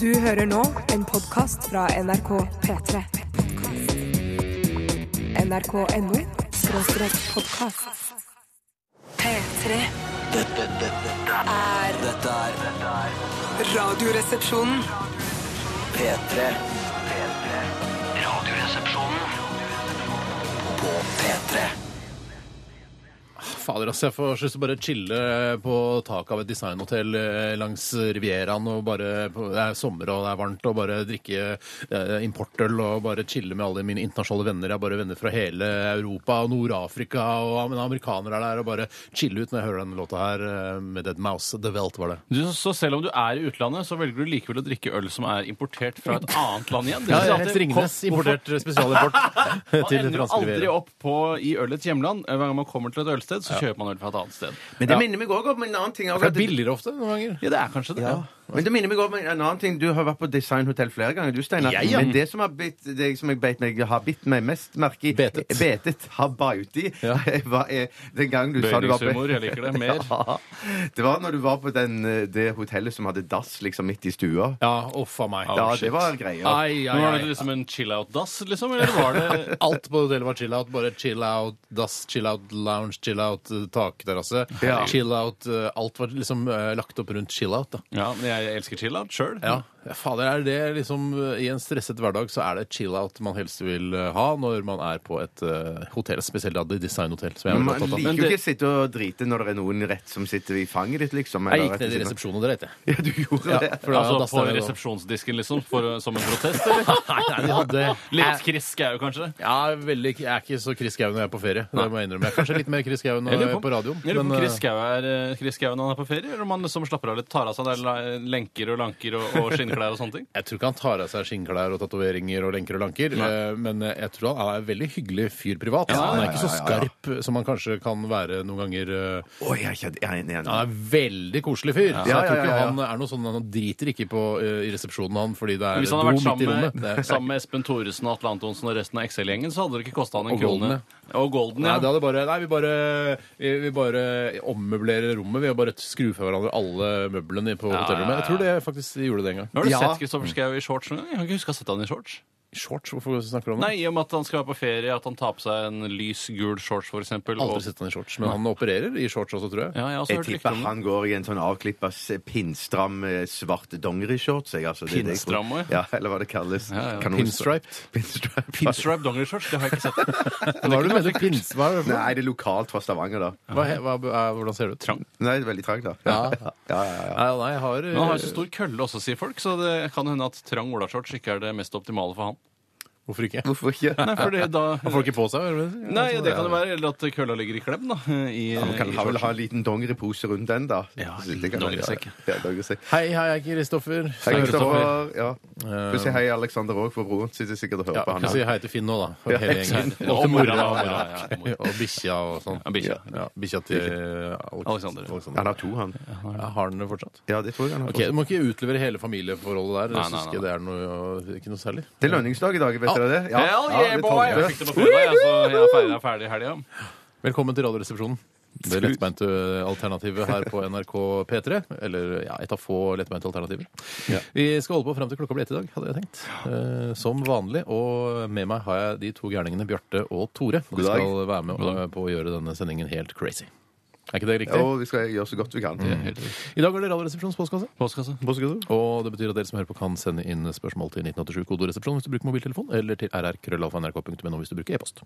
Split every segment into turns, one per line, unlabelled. Du hører nå en podkast fra NRK P3. NRK.no skråstrek podkast. P3
Dette, dette, dette,
er
dette er dette er
Radioresepsjonen.
P3. P3. Radioresepsjonen på P3.
Fader, altså, jeg får lyst til å bare chille på taket av et designhotell eh, langs Rivieraen. og bare, Det er sommer og det er varmt, og bare drikke eh, importøl og bare chille med alle mine internasjonale venner. Jeg har bare venner fra hele Europa og Nord-Afrika, og am- amerikanere er der. Og bare chille ut når jeg hører denne låta her eh, med Dead Mouse. The Welt var det.
Du, så selv om du er i utlandet, så velger du likevel å drikke øl som er importert fra et annet land igjen? Det
Ja,
vil si at
Helt
det-
Ringnes
Hvorfor-
importert eh, spesialimport
Man
til
ender jo
franske
aldri
Riviera.
opp på, i ølets hjemland. Hver gang man kommer til et ølsted, så kjøper man øl fra et annet sted.
Men det
Ja.
minner meg også om en annen ting. Altså,
Det er billigere ofte noen ganger.
Ja, det er kanskje det. Ja.
Men det minner meg om en annen ting. Du har vært på designhotell flere ganger, du, Steinar.
Ja, ja.
Men det som, har bitt, det som jeg beit meg, har bitt meg mest merke i
Betet.
Betet. Har bait i.
Ja.
Hva er- Den gangen du sa du var på-
Bøyningshumor, jeg liker det mer.
Ja. Det var når du var på den, eh, det hotellet som hadde dass liksom midt i stua.
Ja, uff a meg.
Ja, det var greia.
Ai, ai,
Men var
ai.
det liksom en chill-out-dass, liksom? Eller var det
Alt på hotellet var chill-out. Bare chill-out dass, chill-out lounge, chill-out eh, takterrasse.
Ja.
Chill-out eh, Alt var liksom eh, lagt opp rundt chill-out, da.
Ja, men jeg elsker chill-out sjøl.
Ja, fader, er det liksom eh, I en stresset hverdag så er det chill-out man helst vil eh, ha når man er på et eh, hotell, spesielt da det designhotell, som jeg er
Men
veldig opptatt
Man
av.
liker
Men
jo
det-
ikke å sitte og drite når det er noen rett som sitter i fanget ditt, liksom.
Jeg
eller
gikk
rett
ned i
ved siden av.
resepsjonen, det vet jeg.
Ja, du gjorde det.
for da- da
Altså på
stemmer det.
resepsjonsdisken, liksom? For, som en protest, eller?
Nei, de hadde
Litt Chris Gau, kanskje?
ja, veldig, Jeg er ikke så Chris Gau når jeg er på ferie. Det må jeg innrømme. Jeg er kanskje litt mer Chris Gau når jeg
Eller
er på radioen.
Eller
men,
om
eh,
Chris Gau er eh, Chris Gau når han er på ferie, eller om han liksom slapper av litt, tar av seg der la- lenker og lanker og, og skinnklær og sånne ting.
Jeg tror ikke han tar av seg skinnklær og tatoveringer og lenker og lanker, eh, men jeg tror han er en veldig hyggelig fyr privat. han er ikke så skarp som han kanskje kan være noen ganger. eh,
Å, jeg er ikke- jeg er enig, jeg er enig.
Han er en veldig koselig fyr. Så
Ja,
jeg tror
ja,
ikke
ja, ja.
han er noe sånn Han driter ikke på eh, i resepsjonen, han, fordi det er
Hvis han
do
hadde vært
midt i
sammen
rommet.
med, sammen med Espen Thoresen og Atle Antonsen og resten av XL-gjengen, så hadde det ikke kosta han en
Og
krone.
Golden,
Og Golden,
Nei,
ja.
det hadde bare, nei vi, bare, vi, vi bare ommøblerer rommet. Vi har bare skrur fra hverandre alle møblene på
Ja,
hotellrommet.
ja,
Jeg tror det faktisk gjorde det en gang.
Nå har du
Ja.
sett Kristoffer Schou i shorts noen gang? Jeg kan ikke huske å ha sett han i shorts.
Shorts? Hvorfor snakker du om det?
Nei, I og med at han skal være på ferie, at han tar på seg en lys gul shorts, f.eks.
Aldri sett han i shorts, men han opererer i shorts også, tror jeg.
Ja, jeg har også
Jeg
hørt rykter
tipper
om det.
han går i en sånn avklippa, s- pinnstram, eh, svart dongerishorts. jeg, Altså, det er det jeg
Pinnstram
tror.
også,
Ja, eller hva det kalles.
Ja, ja.
Kan noen-
Pinstriped.
Pinstripe.
Pinstripe dongerishorts, det har jeg ikke sett.
Hva er det du mener? Pins? Hva, er det for noe?
Nei, det er lokalt fra Stavanger, da.
hva, he- hva, er- hvordan ser det ut?
Trang.
Nei, det er veldig trangt, da.
Ja.
ja, ja, ja.
Nei, nei, jeg har,
Men han har jo så stor kølle også, sier folk, så det kan hende at trang olashorts ikke er det mest optimale for han.
Hvorfor ikke?
Hvorfor ikke?
Nei, fordi da...
Har folk ikke på seg? eller?
Nei, det kan det være. Eller at kølla ligger i klem, da. I,
Man kan
i
ha,
shortsen.
vel ha en liten dongeripose rundt den, da.
Ja,
Så det kan-
dongerisekk.
Ja, ja, dongerisekk.
Hei, hei, jeg er Kristoffer.
Hei,
Hei, Kristoffer.
Kristoffer. Ja. Du sier hei, Alexander òg, for broren sitter sikkert og hører
Ja,
på han.
kan si hei til Finn nå, da. For
Ja.
hele gjengen.
Ja, og mora, da, mora, ja, ja, mora.
Og bikkja og sånn.
Ja, bikkja.
Ja, bikkja til eh, Alex-
Alexander.
Han har to, han.
Ja, har han det fortsatt?
Ja, det tror jeg han har.
Ok, Du må ikke utlevere hele familieforholdet der.
Nei,
Jeg
nei,
syns
nei,
ikke det er noe, ikke noe særlig.
Det er lønningsdag i dag, vet dere det?
Hell yeah,
det
boy!
tolvte.
Jeg fikk det på fredag, jeg, så jeg feira ferdig i helga.
Velkommen til Radioresepsjonen. Det lettbeinte eh, alternativet her på NRK P3. Eller ja, et av få lettbeinte alternativer. Vi skal holde på frem til klokka blir ett i dag, hadde jeg tenkt. Eh, som vanlig. Og med meg har jeg de to gærningene Bjarte og Tore. Og de
God dag.
skal være med eh, på å gjøre denne sendingen helt crazy. Er ikke det riktig?
Og vi skal gjøre så godt vi kan.
I dag er det Radioresepsjonens postkasse.
Postkasse.
Og det betyr at dere som hører på, kan sende inn spørsmål til 1987 kodoresepsjon hvis du bruker mobiltelefon, eller til rrkrøllalfa.nrk.no hvis du bruker e-post.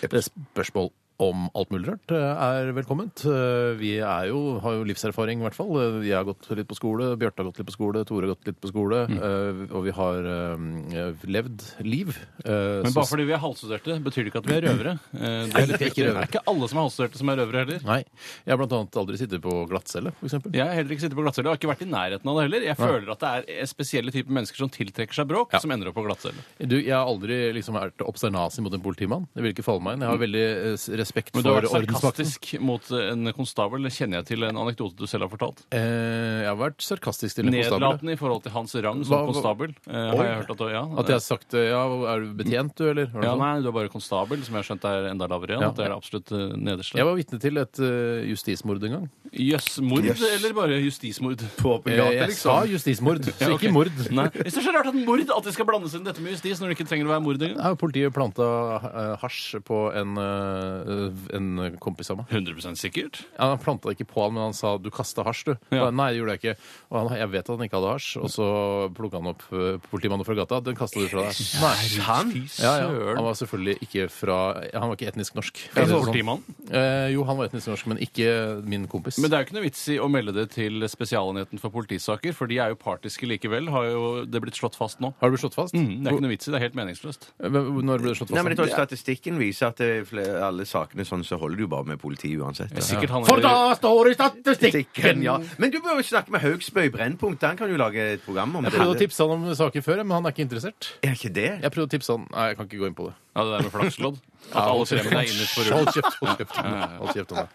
Spørsmål om alt mulig rart eh, er velkomment. Eh, Vi er jo, har jo livserfaring, i hvert fall. Jeg har gått litt på skole, Bjarte har gått litt på skole, Tore har gått litt på skole.
Mm.
eh, Og vi har eh, levd liv. eh,
Men bare fordi vi er halvstuderte, betyr det ikke at vi er røvere. Eh, Det er, litt,
Ikke
viktig. det
røvere.
er ikke alle som er halvstuderte, som er røvere heller.
Nei. Jeg har blant annet aldri sittet på glattcelle, for eksempel.
Jeg har heller ikke sittet på glattcelle. Jeg har ikke vært i nærheten av det heller. Jeg føler at det er eh, spesielle typer mennesker som tiltrekker seg bråk, som ender opp på glattcelle.
Du, jeg har aldri liksom vært obsternasig mot en politimann. Det vil ikke falle meg inn. Jeg har veldig eh, respekt
Mm. Men
for
du har vært
ordensmakten.
sarkastisk mot eh, en konstabel, kjenner jeg til en anekdote du selv har fortalt.
Eh, jeg har vært sarkastisk til en konstabel.
Nedlatende i forhold til hans rang
Hva-
som
hva-
konstabel. eh,
Oi.
har jeg hørt at du, ja.
At jeg har sagt eh, ja, er du betjent du, eller? Var det
ja,
sånn?
nei, du er bare konstabel, som jeg har skjønt er enda lavere igjen.
Ja.
At det er det absolutt eh, nederste.
Jeg var vitne til et eh, justismord en gang.
Jøss, mord
Jøss.
eller bare justismord?
På åpen
Eh,
gate,
jeg sa
liksom.
justismord, så
Ja, ok.
ikke mord.
Nei. Jeg synes det er så rart at mord at det skal blandes inn i dette med justis når det ikke trenger å være mord engang.
Ja, politiet planta eh, hasj på en, eh, en kompis av meg.
100 sikkert.
Ja, han planta det ikke på han, men han sa 'du kasta hasj', du.
Ja.
Og jeg, Nei, det gjorde jeg ikke. Og han, jeg vet at han ikke hadde hasj. Og så plukka han opp eh, politimannen fra gata. Den kasta du fra deg. Nei.
Han?
Ja, ja. Han
Søren.
var selvfølgelig ikke fra Han var ikke etnisk norsk.
Er
For å si det
det
sånn.
Politimann.
Eh, jo, han var etnisk norsk, men ikke min kompis.
Men det er jo ikke noe vits i å melde det til Spesialenheten for politisaker, for de er jo partiske likevel, har jo det blitt slått fast nå.
Har du blitt slått fast?
Det er ikke noe vits i, det er helt meningsløst.
Hvor- Når ble du slått fast?
Nei, men jeg tror statistikken viser at eh, fle- alle sakene sånn, så holder du bare med politiet uansett. Ja.
Sikkert han
står det i
Statistikken, ja. Men du bør jo snakke med Haugsbø i Brennpunkt. Han kan jo lage et program om
Jeg
det.
prøvde å tipse han om saker før, men han er ikke interessert.
Er ikke det?
Jeg prøvde å tipse han Nei, jeg kan ikke gå inn på det.
Ja, det der med flakslodd. At alle fremmede er innerst på
Hold
rullen.
kjeft, hold kjeft. Hold kjeft om det.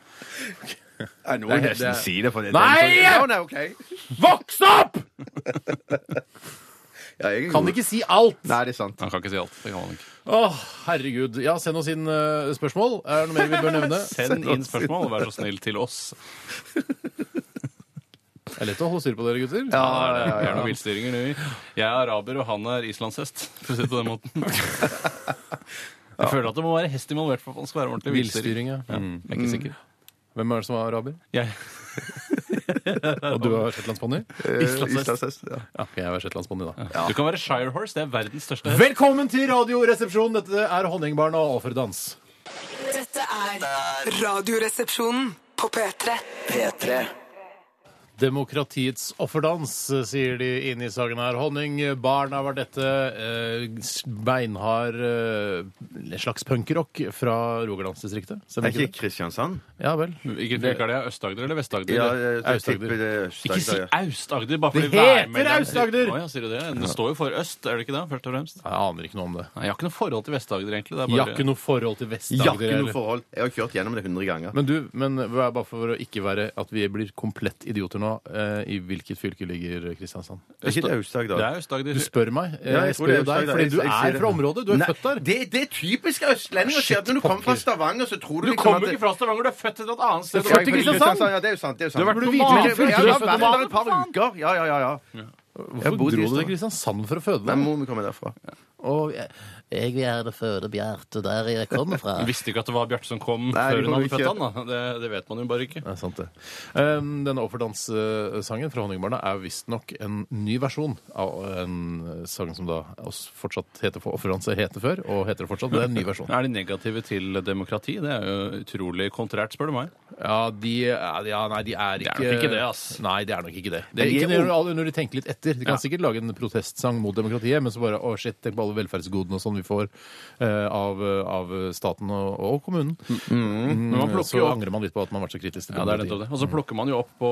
Nei, nå må jeg
Det er- det
nesten
er-
si det. For det
Nei!
Ja, nei, ok.
Voks opp!
Ja, jeg er
Kan
god.
ikke si alt!
Nei, det er sant.
Han kan ikke si alt. Det kan han ikke.
Åh, herregud. Ja, send oss inn eh, spørsmål. Er det noe mer vi bør nevne?
Send inn spørsmål, vær så snill, til oss.
Det er lett å holde styr på dere, gutter.
Ja, det er det. Vi er noen villstyringer, nå, vi. Jeg er araber, og han er islandshest, for å si det på den måten. Jeg føler at det må være hest involvert for at man skal være ordentlig villstyring.
Villstyring, ja. Mm.
Jeg er ikke sikker.
Hvem er det som er araber?
Jeg,
Og du er shetlandsponny?
Islandshest. Ja.
Ok, jeg er shetlandsponny, da.
du kan være Shire Horse, det er verdens største hest.
Velkommen til Radioresepsjonen! Dette er Honningbaren og Alfredans.
Dette er Radioresepsjonen på P3.
P3.
Demokratiets offerdans, eh, sier de inne i saken her. Honning, barna var dette. Eh, beinhard eh, slags punkrock fra Rogalandsdistriktet.
Er
Stemmer
ikke
ikke det?
Kristiansand? eh,
Ja vel.
Ikke fylke er det Øst-Agder eller Vest-Agder?
Ja,
eller?
jeg jeg
Aust-Agder.
tipper det er
Ikke si
Øst-Agder. ja.
Aust-Agder, bare fordi
Det heter
værmelderen-
Aust-Agder!
Å ja, sier du det? Det står jo for øst, er det ikke det? Først og fremst.
Jeg aner ikke noe om det.
Nei, jeg har ikke noe forhold til Vest-Agder, egentlig. Det er
Jeg
bare...
har ikke noe forhold til
Jeg har
Vest-Agder.
ikke
heller.
noe forhold. Jeg har kjørt gjennom det 100 ganger.
Men du, men hva er bare for å ikke være at vi blir komplett idioter nå, eh, i hvilket fylke ligger Kristiansand?
Er ikke det Aust-Agder?
Det er Aust-Agder.
Du spør meg. Eh,
Ja,
jeg
jeg tror
spør
det er
jo deg,
Aust-Agder.
fordi du
Jeg- jeg
er
sier
fra
det.
området. Du er
Nei,
født der.
Det, det er typisk østlendinger å si at når du kommer fra Stavanger, så tror du
Du
liksom
kommer
at-
ikke fra Stavanger, du er født et annet sted.
Du er født i Kristiansand.
Ja, det er jo sant. det er jo sant.
Du har vært
Men-
noman. Du
Men-
er
Jeg har
født
vært der
noman.
et par uker. Ja, ja, ja. ja.
Hvorfor
bodde i
dro du til
Stavanger.
Kristiansand for å føde
Nei,
deg?
må vi komme derfra.
Og jeg-
Jeg vil gjerne føde Bjarte der jeg kommer fra.
Du visste ikke at det var Bjarte som kom
Nei,
før hun
det kom
hadde født
ikke.
han, da. Det, det vet man jo bare ikke.
Det er sant, det. Um, denne offerdanssangen fra Honningbarna er visstnok en ny versjon av en sang som da også fortsatt heter for Offerdans, heter før, og heter det fortsatt. men Det er en ny versjon.
Er de negative til demokrati? Det er jo utrolig kontrært, spør du meg.
Ja, de, er- ja, nei, de er
Det
ikke
er nok ikke det, ass.
Nei, det er nok ikke det. det
Men
er
de
ikke
er
når, alle- når de tenker litt etter. De kan
Ja.
sikkert lage en protestsang mot demokratiet, men så bare Å, shit, tenk på alle velferdsgodene og sånn vi får eh, av, av staten og, og kommunen.
Men man plukker
Mm, Så
jo opp
angrer man litt på at man har vært så kritisk til
Ja, det er nettopp
demokratiet.
det. Og så plukker man jo opp på,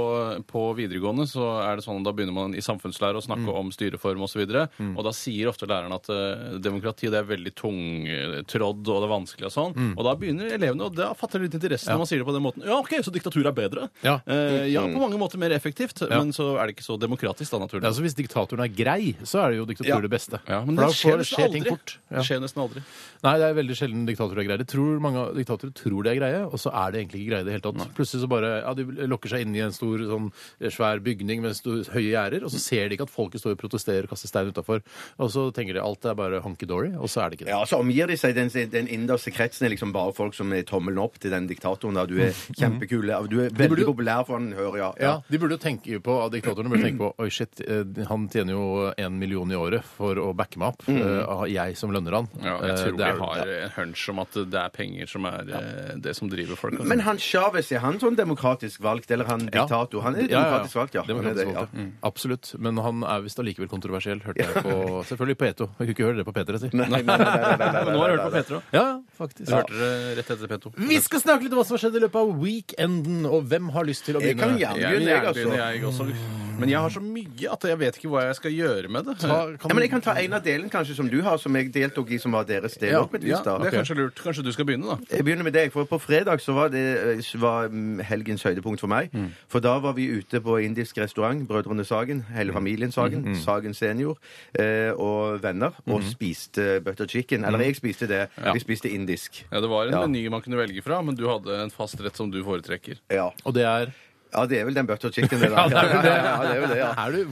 på videregående, så er det sånn da begynner man i samfunnslære å snakke om styreform osv. Og, så videre, og da sier ofte læreren at eh, demokrati det er veldig tungtrådd og det er vanskelig og sånn. Og da begynner elevene, og da fatter de litt interesse når man sier det på den måten. Ja, OK, så diktatur er bedre.
Ja.
Eh, ja på mange måter mer effektivt, men så er det ikke så demokratisk, da, naturlig.
Ja, så hvis diktatoren er grei, så er det jo diktatur
Ja.
det beste.
Ja, men
For da
det skjer
får-
nesten
ting
aldri.
fort. Ja.
Det skjer nesten aldri.
Nei, det er veldig sjelden diktatorer er greie. De tror, mange av- diktatorer tror de er greie, og så er de egentlig ikke greie i det hele tatt. Plutselig så bare ja, De lokker seg inn i en stor, sånn, svær bygning med sto- høye gjerder, og så ser de ikke at folket står og protesterer og kaster stein utafor. Og så tenker de alt er bare honky-dory, og så er det ikke det.
Ja, Så omgir de seg den, den innerste kretsen er liksom bare folk som er tommelen opp til den diktatoren. Da. Du er kjempekul. ja, Du er
Mhm. burde
veldig
jo-
populær for han hører, ja.
Ja, de burde jo tenke på, Diktatorene burde tenke på Oi, shit, eh, han tjener jo én million i året for å backe meg
Mm.
opp. Eh, ah, Jeg som lønner han.
Ja, jeg
Eh,
tror
det er-
de har en hunch om at det er penger som er eh, det som driver folk. altså.
Men han Chávez, er han sånn demokratisk valgt? Eller han
Ja.
diktator? Han
Ja,
er
ja, ja.
demokratisk valgt, ja. Han er
Demokratisk
det, ja.
valgt, ja. Absolutt. Men han er visst allikevel kontroversiell, hørte jeg på Selvfølgelig på Eto. Jeg kunne ikke høre det på P3, si.
Nei, nei, nei, nei, nei, nei,
Men
nei,
nå har jeg
nei,
hørt på
nei.
Petra.
Ja, faktisk.
Du hørte det rett etter P2.
Vi skal snakke litt om hva som har skjedd i løpet av weekenden, og hvem har lyst til å
Jeg
begynne?
kan gjerne
Jeg vil
begynne, jeg,
gjerne begynne,
altså.
jeg også. Men jeg har så mye at jeg vet ikke hva jeg skal gjøre med det.
Ta- kan-
Ja, men jeg kan ta en av delen kanskje som du har, som jeg deltok i, som var deres del
Ja,
opp et
Ja,
vis. da.
det er kanskje lurt. Kanskje du skal begynne, da.
Jeg begynner med deg, for på fredag så var det eh, var mm, helgens høydepunkt for meg.
Mm.
For da var vi ute på indisk restaurant, Brødrene Sagen,
Mm.
hele familien Sagen,
Mm-hmm.
Sagen senior eh, og venner, og spiste butter chicken. Eller
Mm-hmm.
jeg spiste det.
Ja.
Vi spiste indisk.
Ja, det var en
Ja.
meny man kunne velge fra, men du hadde en fast rett som du foretrekker.
Ja.
Og det er
ja, det er vel den butter chicken, det da.
Ja, det er vel det.
Ja, det er vel det, ja.
Er du,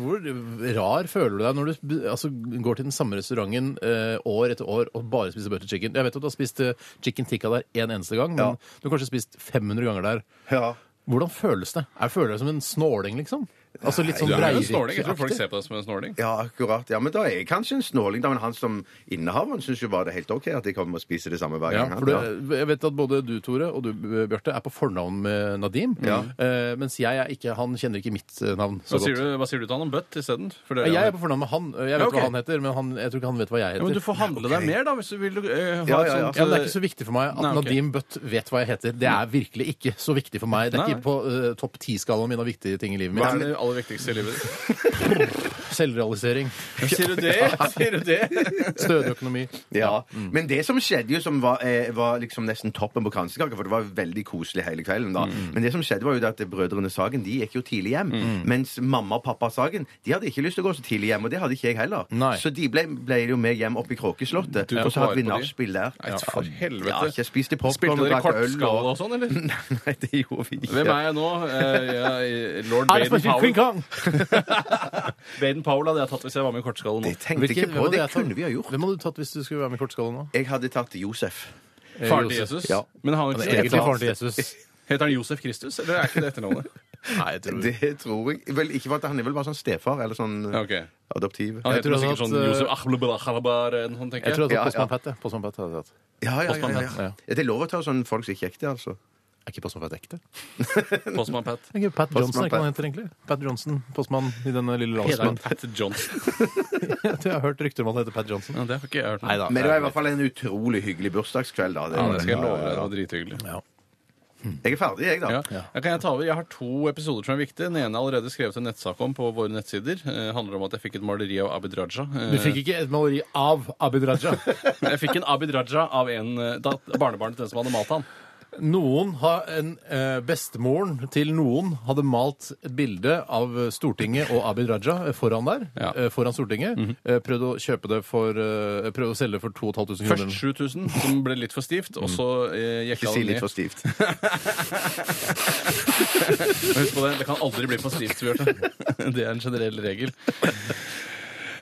Hvor rar føler du deg når du altså, går til den samme restauranten eh, år etter år og bare spiser butter chicken? Jeg vet at du har spist eh, chicken tikka der én eneste gang, men
Ja.
du har kanskje spist 500 ganger der.
ja.
Hvordan føles det? Jeg føler deg som en snåling, liksom? Altså litt sånn
Du er jo en snåling. Jeg tror folk
Breivik-aktig?
ser på deg som en snåling.
Ja, akkurat. Ja, men da er jeg kanskje en snåling, da. Men han som innehaveren syns jo bare det er helt OK at jeg kommer og spiser det samme hver
Ja,
gang.
for du, jeg vet at både du, Tore, og du, Bjarte, er på fornavn med Nadim. eh, mens jeg er ikke Han kjenner ikke mitt eh, navn så
Hva sier,
godt.
du, hva sier du til han om bøtt isteden? For det-
Jeg er på fornavn med han. eh, Jeg vet
Ja, ok.
hva han heter, men han, jeg tror ikke han vet hva jeg
ja,
heter.
men du får handle deg mer, da, hvis du vil eh, ha
Ja,
et
ja, ja.
sånt
Ja, men Det er ikke så viktig for meg at
Nei, ok.
Nadim Bøtt vet hva jeg heter. Det er virkelig ikke så viktig for meg. Det er
Nei.
ikke på eh, topp ti-skalaen min av viktige ting i livet
Hva er
mitt.
det aller viktigste i livet ditt?
Selvrealisering,
Sier du det? Sier du det?
stødig økonomi.
Ja,
Mm.
Men det som skjedde, jo som var, eh, var liksom nesten toppen på kransekaka, for det var veldig koselig hele kvelden. da.
Mm.
Men det som skjedde, var jo det at brødrene Sagen de gikk jo tidlig hjem. Mens mamma og pappa Sagen de hadde ikke lyst til å gå så tidlig hjem, og det hadde ikke jeg heller.
Nei.
Så de ble, ble jo med hjem opp i Kråkeslottet,
Du tok
og så
vare
hadde
på
vi
de.
nachspiel der.
Nei, for
Ja,
helvete.
jeg spiste popcorn
Spilte
og
dere
drakk øl.
kortskala
Og...
og sånn, eller?
Nei, det gjorde vi ikke.
Hvem er jeg nå? Eh, jeg er Lord Baden
Queen
Powell.
Kong!
Baden Powell hadde jeg tatt hvis jeg var med i kortskala nå.
Jeg tenkte ikke
Hvilken- hvem
på
hadde
det.
jeg tatt?
kunne vi ha gjort.
Hvem hadde du tatt hvis du skulle være med i Kortskalle nå?
Jeg hadde tatt Josef.
Eh,
Faren til
Josef.
Jesus?
Ja.
Men
Han er
han har ikke
Egentlig
etternavn.
faren til Jesus.
Heter han Josef Kristus, eller er ikke det etternavnet?
Nei, jeg tror
Det tror jeg vel ikke, for at han er vel bare sånn stefar, eller sånn
Ja, ok.
adoptiv.
Han
Jeg
heter
tror
jo sikkert
han
sånn
hadde-
Josef Ahlebalakhalabar eller noe sånt,
jeg tror
tenker jeg.
jeg hadde
Ja,
tatt Postman
ja.
Pat. jeg. Postman Pat hadde jeg tatt.
Ja, ja, ja,
Postmann
ja, ja. Er det lov å ta sånn folk som ikke er ekte, altså?
Er ikke Postman Pat ekte?
Postman Pat.
Er ikke Pat Johnson er ikke
Pat.
hva han heter egentlig? Pat Johnson, postmann i denne lille
Heter han
landsbyen.
Pat Johnson?
Jeg har hørt rykter om at han heter Pat Johnson.
Ja, det har ikke jeg hørt.
Nei da.
Men det var i hvert fall en utrolig hyggelig bursdagskveld, da. Det
Ja,
var
det
det.
skal jeg love deg. Det var drithyggelig.
Jeg er ferdig, jeg, da.
Ja. Da Kan jeg, ta over? jeg har to episoder som er viktige. Den ene er allerede skrevet en nettsak om på våre nettsider. Eh, handler om at jeg fikk et maleri av Abid Raja. Eh,
Du fikk ikke et maleri av Abid Raja.
Jeg fikk en Abid Raja av en eh, dat- barnebarn til den som hadde malt han.
Noen har en eh, Bestemoren til noen hadde malt et bilde av Stortinget og Abid Raja eh, foran der.
Ja. Mhm.
eh, Foran Stortinget. Eh, Prøvd å kjøpe det for eh, Prøvd å selge det for 2500
Først
kroner.
7000, som ble litt for stivt, og så eh, jekka
Ikke si
det ned.
litt for stivt.
Men Husk på det, det kan aldri bli for stivt, Bjarte. Det er en generell regel.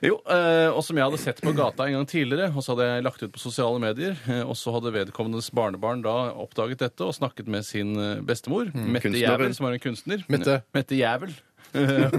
Jo, eh, og som jeg hadde sett på gata en gang tidligere, og så hadde jeg lagt ut på sosiale medier, eh, og så hadde vedkommendes barnebarn da oppdaget dette og snakket med sin eh, bestemor, Mette
kunstneren.
Jævel, som var en kunstner.
Mette.
Mette Jævel. Eh,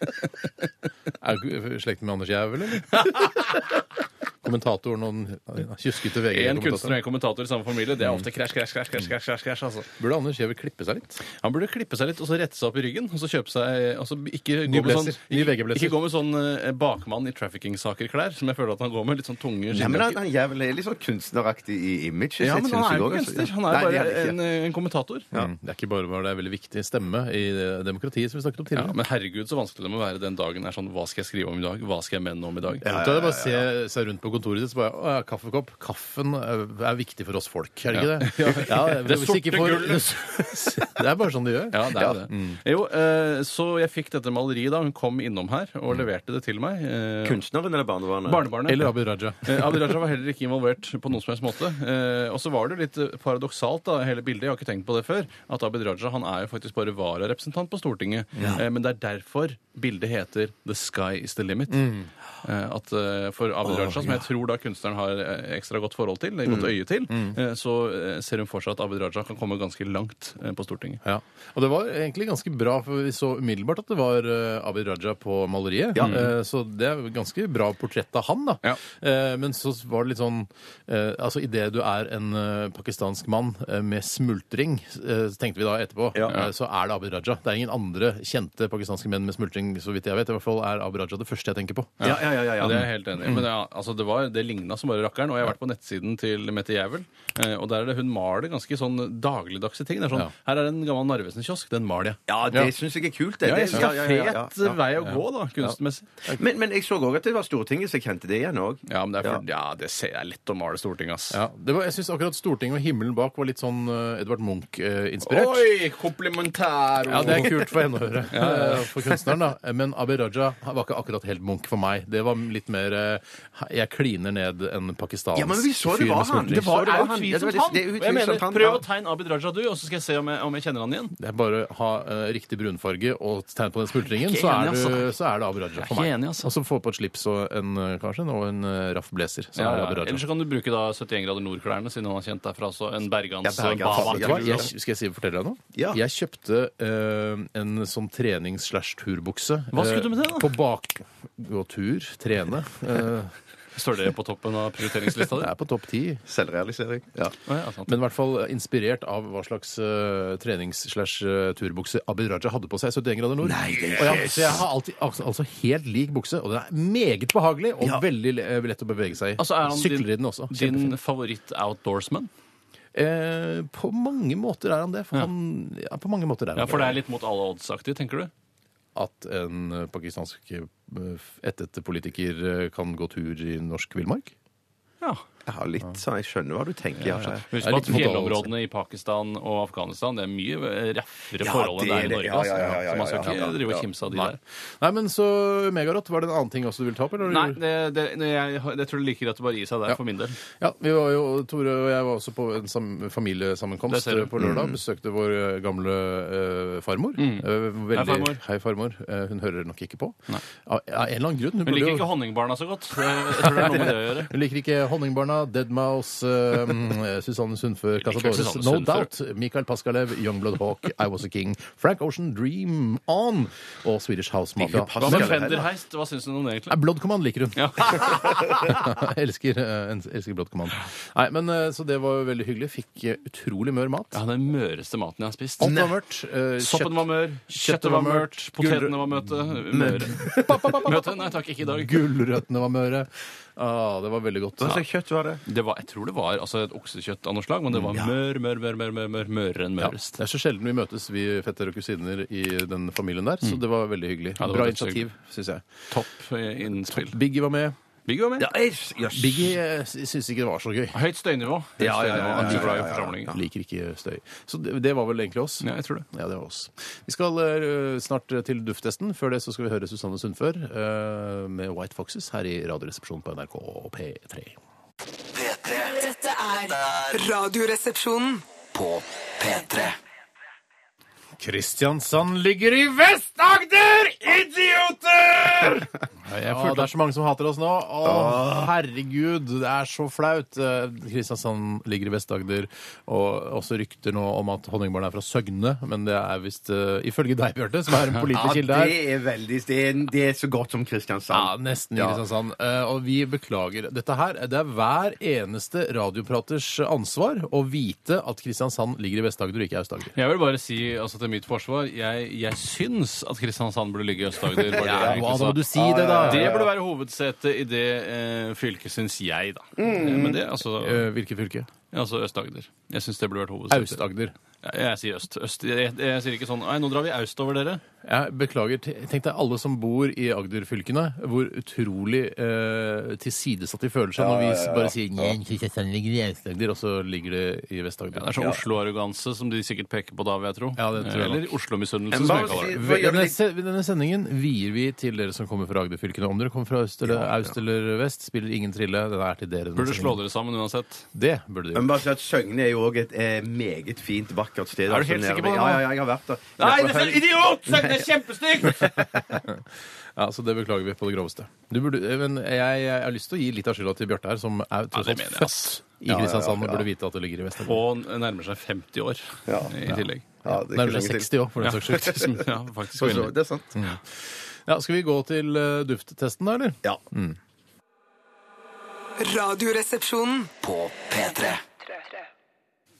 Er du ikke i slekt med Anders Jævel, eller? Kommentatoren og den kjuskete
En
VG-kommentatoren.
kunstner og en kommentator Mm. i samme familie. Det er ofte krasj, krasj, krasj, krasj, krasj, krasj, krasj altså.
Burde Anders Jævel klippe seg litt?
Han burde klippe seg litt og så rette seg opp i ryggen. Og så kjøpe seg altså, ikke,
Ny
gå med sånn,
blazer. Ny
ikke,
VG-blazer.
ikke gå med sånn eh, bakmann i trafficking-saker-klær, som jeg føler at han går med. Litt sånn tunge
Nei, men
skinnjakker.
han, han er vel litt sånn kunstneraktig i imaget
Ja, men
sitt, synes
han er
jeg
jo
også,
ikke
altså.
kunstner. Han er
Nei,
jo
det
bare
han
en, eh,
ikke.
en kommentator. Ja.
Mm, Det er ikke bare bare det er veldig viktig stemme i eh, demokratiet, som vi snakket om tidligere.
Men herregud, så vanskelig det må være den dagen er sånn Hva skal jeg skrive om i dag? Hva skal jeg mene om i dag?
Ja, ja, Bare se seg rundt på kontoret sitt, så bare Å ja, kaffekopp. Kaffen er er viktig for oss folk, er det ikke det? Ja,
Det
hvis ikke
sorte
for-
gullet.
Det er bare sånn de gjør.
Ja, det er jo det. Jo, eh, så jeg fikk dette maleriet da. Hun kom innom her og leverte det til meg. eh,
Kunstneren eller barnebarnet?
Barnebarnet.
Eller Abid Raja.
Eh, Abid Raja var heller ikke involvert på noen som helst måte. Eh, og så var det jo litt eh, paradoksalt, da, hele bildet, jeg har ikke tenkt på det før, at Abid Raja han er jo faktisk bare vararepresentant på Stortinget. Eh, men det er derfor bildet heter 'The Sky Is The Limit'. Eh, at eh, For Abid Raja, som jeg tror da kunstneren har eh, ekstra godt forhold til, godt øye til, eh, så eh, ser hun for seg at Abid Raja kan komme ganske langt eh, på Stortinget.
Ja. Og det var egentlig ganske bra, for vi så umiddelbart at det var eh, Abid Raja på maleriet. Eh, Så det er jo ganske bra portrett av han, da.
Ja.
Eh, Men så var det litt sånn eh, Altså idet du er en eh, pakistansk mann eh, med smultring, eh, så tenkte vi da etterpå, eh, så er det Abid Raja. Det er ingen andre kjente pakistanske menn med smultring, så vidt jeg vet. I hvert fall er Abid Raja det første jeg tenker på.
Ja, ja, ja, ja,
Ja,
ja.
det er jeg helt enig i. Men ja, altså, det var var, det ligna som bare rakkeren. Og jeg har vært på nettsiden til Mette Jævel, eh, og der er det hun maler ganske sånn dagligdagse ting. Det er sånn,
Ja.
Her er en gammel Narvesen-kiosk. Den maler jeg.
Ja, det syns jeg er kult. Det.
Ja, jeg
Det-
synes det er
ja,
fet eh,
ja.
vei å gå, da, kunstmessig.
Men, men jeg så òg at det var Stortinget som kjente det igjen òg.
Ja, men det er, for, ja. det ser jeg lett å male Stortinget, ass.
Ja, det var, jeg syns akkurat Stortinget og himmelen bak var litt sånn eh, Edvard Munch-inspirert.
Oi, komplimentæro!
Ja, det er kult for henne å høre. eh, For kunstneren, da. Men Abid Raja var ikke akkurat helt Munch for meg. Det var litt mer eh, Jeg kliner ned en pakistansk
Ja, men vi så det var han.
skuldertrekk.
Det var-
er sånn
er
jo
jo han. Ja, det var
utvilsomt han.
det- det er
Og jeg
utvilsomt
mener,
han,
Prøv
ja.
å tegne Abid Raja, du, og så skal jeg se om jeg, om jeg kjenner han igjen.
Det er bare å ha eh, riktig brunfarge og tegn på den skultringen,
Jeg er
så,
ikke
er
enig,
altså.
du- så er det Abid Raja
Jeg er
for meg.
ikke enig, altså.
Og så få på et slips og en, eh, kanskje, og en eh, raff blazer. Så er det Abid
Eller så
Raja.
kan du bruke da 71 grader nord-klærne, siden han har kjent derfra. Så en bergans,
Ja, Bergans.
Bava.
Vet du hva? Jeg, skal jeg si, fortelle deg noe?
Ja.
Jeg kjøpte eh, en sånn trenings-slash-turbukse.
Hva skulle
eh,
du med det, da?
På bak... Gå tur, trene. eh,
Står det på toppen av prioriteringslista di?
det er på topp ti.
Selvrealisering. Ja.
Å, ja, sant.
Men i hvert fall eh, inspirert av hhva slags eh, trenings-slash-turbukse Abid Raja hadde på seg i 71 grader nord. Nei, og jeg, så jeg har alltid altså, altså helt lik bukse, og den er meget behagelig og veldig le- eh, lett å bevege seg i.
Altså, er han
Sykler
din-
i den også.
Din
Kjempefin.
favoritt-outdoorsman?
Eh, på mange måter er han det. For, han, ja, på mange måter er han
Ja, for det er litt mot alle odds-aktig, tenker du?
At en eh, pakistansk eh, ættete politiker eh, kan gå tur i norsk villmark.
Ja.
Ja, litt sånn. Jeg skjønner hva du tenker. Ja, ja.
Husk
Det er
på at
litt mot alle odds.
fjellområdene i Pakistan og Afghanistan det er mye eh, raffere
Ja,
forhold enn det er i
det er det.
Norge.
Ja, ja,
altså.
ja, ja, ja,
Så man skal
ja, ja,
ikke
ja.
drive og kimse av de der.
Nei, men så Megarot, var det en annen ting også du ville ta opp? eller?
Nei, det, det, nei, jeg, jeg tror det liker at du bare gir seg der,
Ja.
for min del.
Ja, vi var jo, Tore og jeg var også på en sam
Det
familiesammenkomst
ser du. Mm.
eh, på lørdag. Besøkte vår eh, gamle eh, farmor. Eh, veldig,
Hei, farmor.
Hei, farmor. Eh, hun hører nok ikke på.
Nei.
Av, av en eller annen grunn. Hun,
Hun
burde
liker
jo-
ikke honningbarna så godt. så Jeg tror det er noe med det å gjøre.
hun liker ikke Honningbarna, Deadmouse, uh, Susanne Sundfør,
liker
Casadores,
Susanne
No
Sundfør.
Doubt, Michael Paskalev, Youngblood Hawk, I Was A King, Frank Ocean, Dream On og Swedish House Mafia.
Ikke
Hva med
Skal jeg heller?
Fenderheist? Hva syns du om det,
Nei,
egentlig?
Blood Command liker hun.
Ja.
Jeg elsker, eh, en- elsker Blood Command. Nei, men, eh, så det var jo veldig hyggelig. Fikk eh, utrolig mør mat.
ja, Den møreste maten jeg har spist.
Alt var mørkt. eh,
Soppen
kjøtt-
var mør, kjøttet var mørt, potetene var møte, møre. Møte? Nei takk, ikke i dag.
Gulrøttene var møre. Ah, det var veldig godt.
Hva slags kjøtt var det?
Det var, jeg tror det var altså, et oksekjøtt av noe slag, men det var mør, mør, mør, mør, mør, mør mørere enn
Ja,
mørest.
det er så sjelden vi møtes, vi fetter og kusiner i den familien der, så det var veldig hyggelig.
Mm. Ja, det var
Bra
veldig
initiativ, syns jeg.
Topp eh, innspill.
Biggie var med.
Biggie var med.
Biggie eh, sy- syns ikke det var så gøy.
Høyt støynivå. Høyt
Ja, ja, ja,
støynivå. Han er
ja, ja,
ikke glad i
ja, ja.
forsamlinger.
Liker ikke støy. Så det, det var vel egentlig oss.
Ja, jeg tror det.
Ja, det var oss. Vi skal eh, snart til dufttesten. Før det så skal vi høre Susanne Sundfør eh, med White Foxes her i Radioresepsjonen på NRK P3.
P3
Dette er Radioresepsjonen.
på P3
Kristiansand ligger i Vest-Agder! Idioter! Ja, det er så mange som hater oss nå. Å, herregud, det er så flaut. Eh, Kristiansand ligger i Vest-Agder, og også rykter nå om at Honningbarn er fra Søgne, men det er visst eh, ifølge deg, Bjarte, som er en
Ja,
pålitelig kilde her.
det er veldig Det er, det er så godt som
Ja,
Kristiansand.
nesten i Kristiansand. Eh, Og vi beklager. Dette her, det er hver eneste radiopraters ansvar å vite at Kristiansand ligger i Vest-Agder og ikke i Aust-Agder.
Jeg vil bare si altså, til mitt forsvar jeg, jeg syns at Kristiansand burde ligge i Øst-Agder. var det jeg
Ja,
egentlig
da
sa.
må du si det, da.
Det burde være hovedsete i det eh, fylket, syns jeg, da. Eh, Men det, altså,
Eh, Hvilket fylke?
altså Øst-Agder. Jeg syns det burde vært hovedsete.
Aust-Agder.
Jeg, jeg sier øst. øst. Jeg, jeg, jeg sier ikke sånn Nei, nå drar vi øst over dere.
Jeg beklager. T- Tenk deg alle som bor i Agder-fylkene, hvor utrolig eh, tilsidesatt de føler seg når vi s- bare sier «Nei, Kristiansand ligger i Aust-Agder, og så ligger det i
Det er
Vest-Agder.
sånn Oslo-arroganse som de sikkert peker på da, vil jeg tro.
Ja, det tror jeg
Eller
nok.
Oslo-misunnelse,
Men
som
bare
jeg kaller det.
si-
Vel, Denne, se- denne sendingen vier vi til dere som kommer fra Agder-fylkene. Om dere kommer fra øst eller aust eller vest, spiller ingen trille. Den er til dere. denne
Burde slå
sendingen.
Um, dere sammen uansett.
Det burde dere.
Men bare si at Søgne er jo òg et eh, meget fint, vakkert sted.
Er du
altså,
helt
nede
sikker på
ved-
det nå?
Ja, ja, ja, jeg har vært der.
idiot! Det er kjempestygt!
Ja, så det beklager vi på det groveste. Du burde, eh, men jeg, jeg har lyst til å gi litt av skylda til Bjarte her, som er tross
det
alt
mener jeg,
født
ass.
i Kristiansand og burde vite at det ligger i Vest-Agder.
Og nærmer seg 50 år i tillegg.
Ja, det er ikke
Nærmere
lenge til.
60 òg, for den saks skyld.
Ja, faktisk.
Så,
veldig.
det er sant.
Ja, skal vi gå til eh, dufttesten, da, eller?
Ja.
Radioresepsjonen.
På P3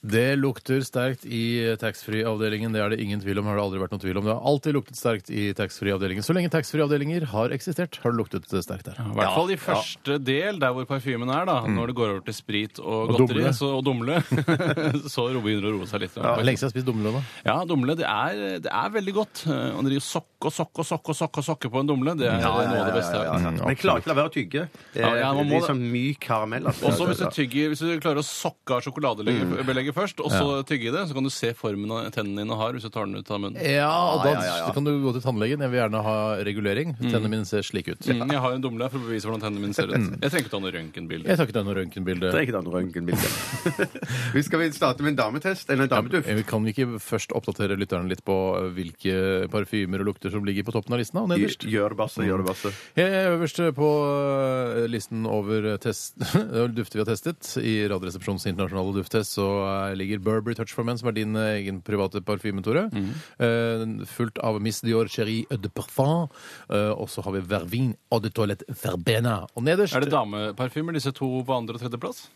Det lukter sterkt i eh, taxfree-avdelingen. Det er det ingen tvil om. Har det aldri vært noen tvil om. Det har alltid luktet sterkt i taxfree-avdelingen. Så lenge taxfree-avdelinger har eksistert, har det luktet eh, sterkt der.
I hvert fall i første del, der hvor parfymen er, da. Når det går over til sprit og,
Mm. Og
godteri
dumle.
Så, og dumle. så ro- begynner det å roe seg litt.
Ja. Lenge siden jeg har spist dumle, da.
Ja, dumle det er, det er veldig godt. Eh, Og det er sokke og sokke og sokke og sokke og sokke på en dumle. Det er noe av det beste. jeg vet.
Men jeg klarer ikke å la være å tygge. Eh,
Ja, ja, man
det
må
er sånn myk karamell. Altså.
Også hvis du, tygger, hvis du klarer å sokke av sjokoladebelegget først, og så tygge i det, så kan du se formen av tennene dine har hvis du tar den ut av munnen.
Ja, og da kan du gå til tannlegen. Jeg vil gjerne ha regulering. Tennene mine ser slik ut.
Mm, jeg har en dumle her for å bevise hvordan tennene mine ser ut. Jeg trenger ikke ta noe røntgenbilde.
Jeg tar ikke deg noe røntgenbilde.
Det er ikke et annet røntgenbilde. Vi skal vi starte med en dametest, eller en dameduft.
Eh, Kan vi ikke først oppdatere lytterne litt på eh, hvilke parfymer og lukter som ligger på toppen av listen? da, og nederst?
Gjør det, Basse. Gjør det, Basse.
Jeg er øverst på eh, listen over test, dufter vi har testet. I Radioresepsjonens internasjonale dufttest så eh, ligger Burberry Touch for Men, som er din eh, egen private parfyme, Tore.
Mhm.
Eh, Fulgt av Miss Dior Cherie Eau de Parfum. Eh, Og så har vi Vervin Eau de Toilette Verbena. Og nederst
Er det dameparfymer, disse to på andre- og tredjeplass?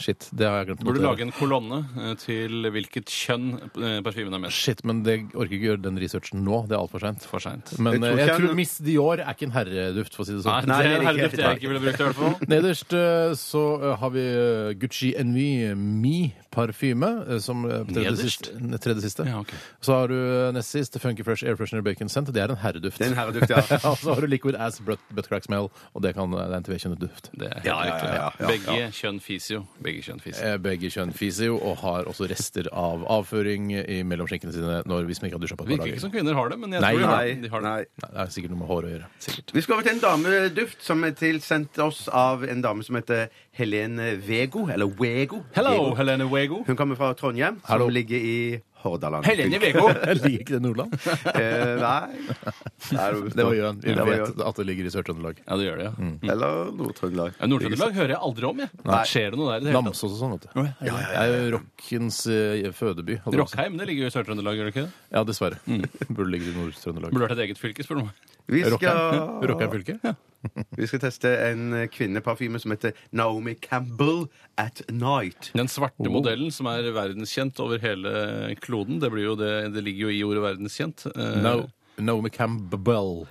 Shit, det har jeg glemt. å
Burde
notere.
lage en kolonne eh, til hvilket kjønn eh, parfymen er mest.
Shit, men det orker ikke gjøre den researchen nå. Det er altfor seint.
For seint.
Men
Jeg tror
eh,
ikke
jeg
jeg-
tror Miss Dior er ikke en herreduft, for å si det
Nei,
sånn.
det
Nei,
er
det
en
liker jeg
herreduft jeg ikke ville brukt i hvert fall.
Nederst eh, så eh, har vi eh, Gucci Envy Mi-parfyme, eh, som eh, tredje
Nederst?
siste. Tredje siste.
Ja, ok.
Så har du eh, nest sist Funky Fresh Air Freshener Bacon Scent. Det er en herreduft.
Det er en herreduft, ja.
Ja, så har du Liquid Ass Butt, butt Crack Smell, og det, kan, eh, det er en tvekjønnet duft.
Det er helt
ja,
riktig.
ja, ja, ja.
Begge kjønn fiser jo. Begge kjønn fiser.
Eh, Begge kjønn fiser jo og har også rester av avføring i mellom skinkene sine når, hvis man ikke har dusja på et par
Virker ikke
dager.
sånn som kvinner har det, men jeg
Nei,
tror de har det.
Nei,
de har det.
nei.
Nei, Det er sikkert noe med håret å gjøre.
Vi skal over til en dameduft som er tilsendt oss av en dame som heter Helene Vego. Eller Wego.
Hello,
Vego.
Helene Wego.
Hun kommer fra Trondheim,
Hallo.
som ligger i Hordaland.
Helene Wego!
Jeg liker ikke det Nordland.
Eh, nei. nei
Det var Jørn. Vi
Det var Jørn.
vet at det ligger i Sør-Trøndelag.
Ja, det gjør det, ja. Mm.
Eller Nord-Trøndelag.
Nord-Trøndelag hører jeg aldri om, jeg. Skjer det noe der i det hele tatt?
Namsos og sånn, vet du. Det er jo rockens eh, fødeby. holdt jeg på å si.
Rockheim, det ligger jo i Sør-Trøndelag, gjør det ikke det?
Ja, dessverre. Burde ligge i Nord-Trøndelag.
Burde vært et eget fylke, spør du meg.
Vi
Rockheim
skal,
Rockheim fylke?
vi skal teste en kvinneparfyme som heter Naomi Campbell At Night.
Den svarte
Oh.
modellen som er verdenskjent over hele kloden, det, blir jo det, det ligger jo i ordet verdenskjent. Eh,
No, Naomi Campbell.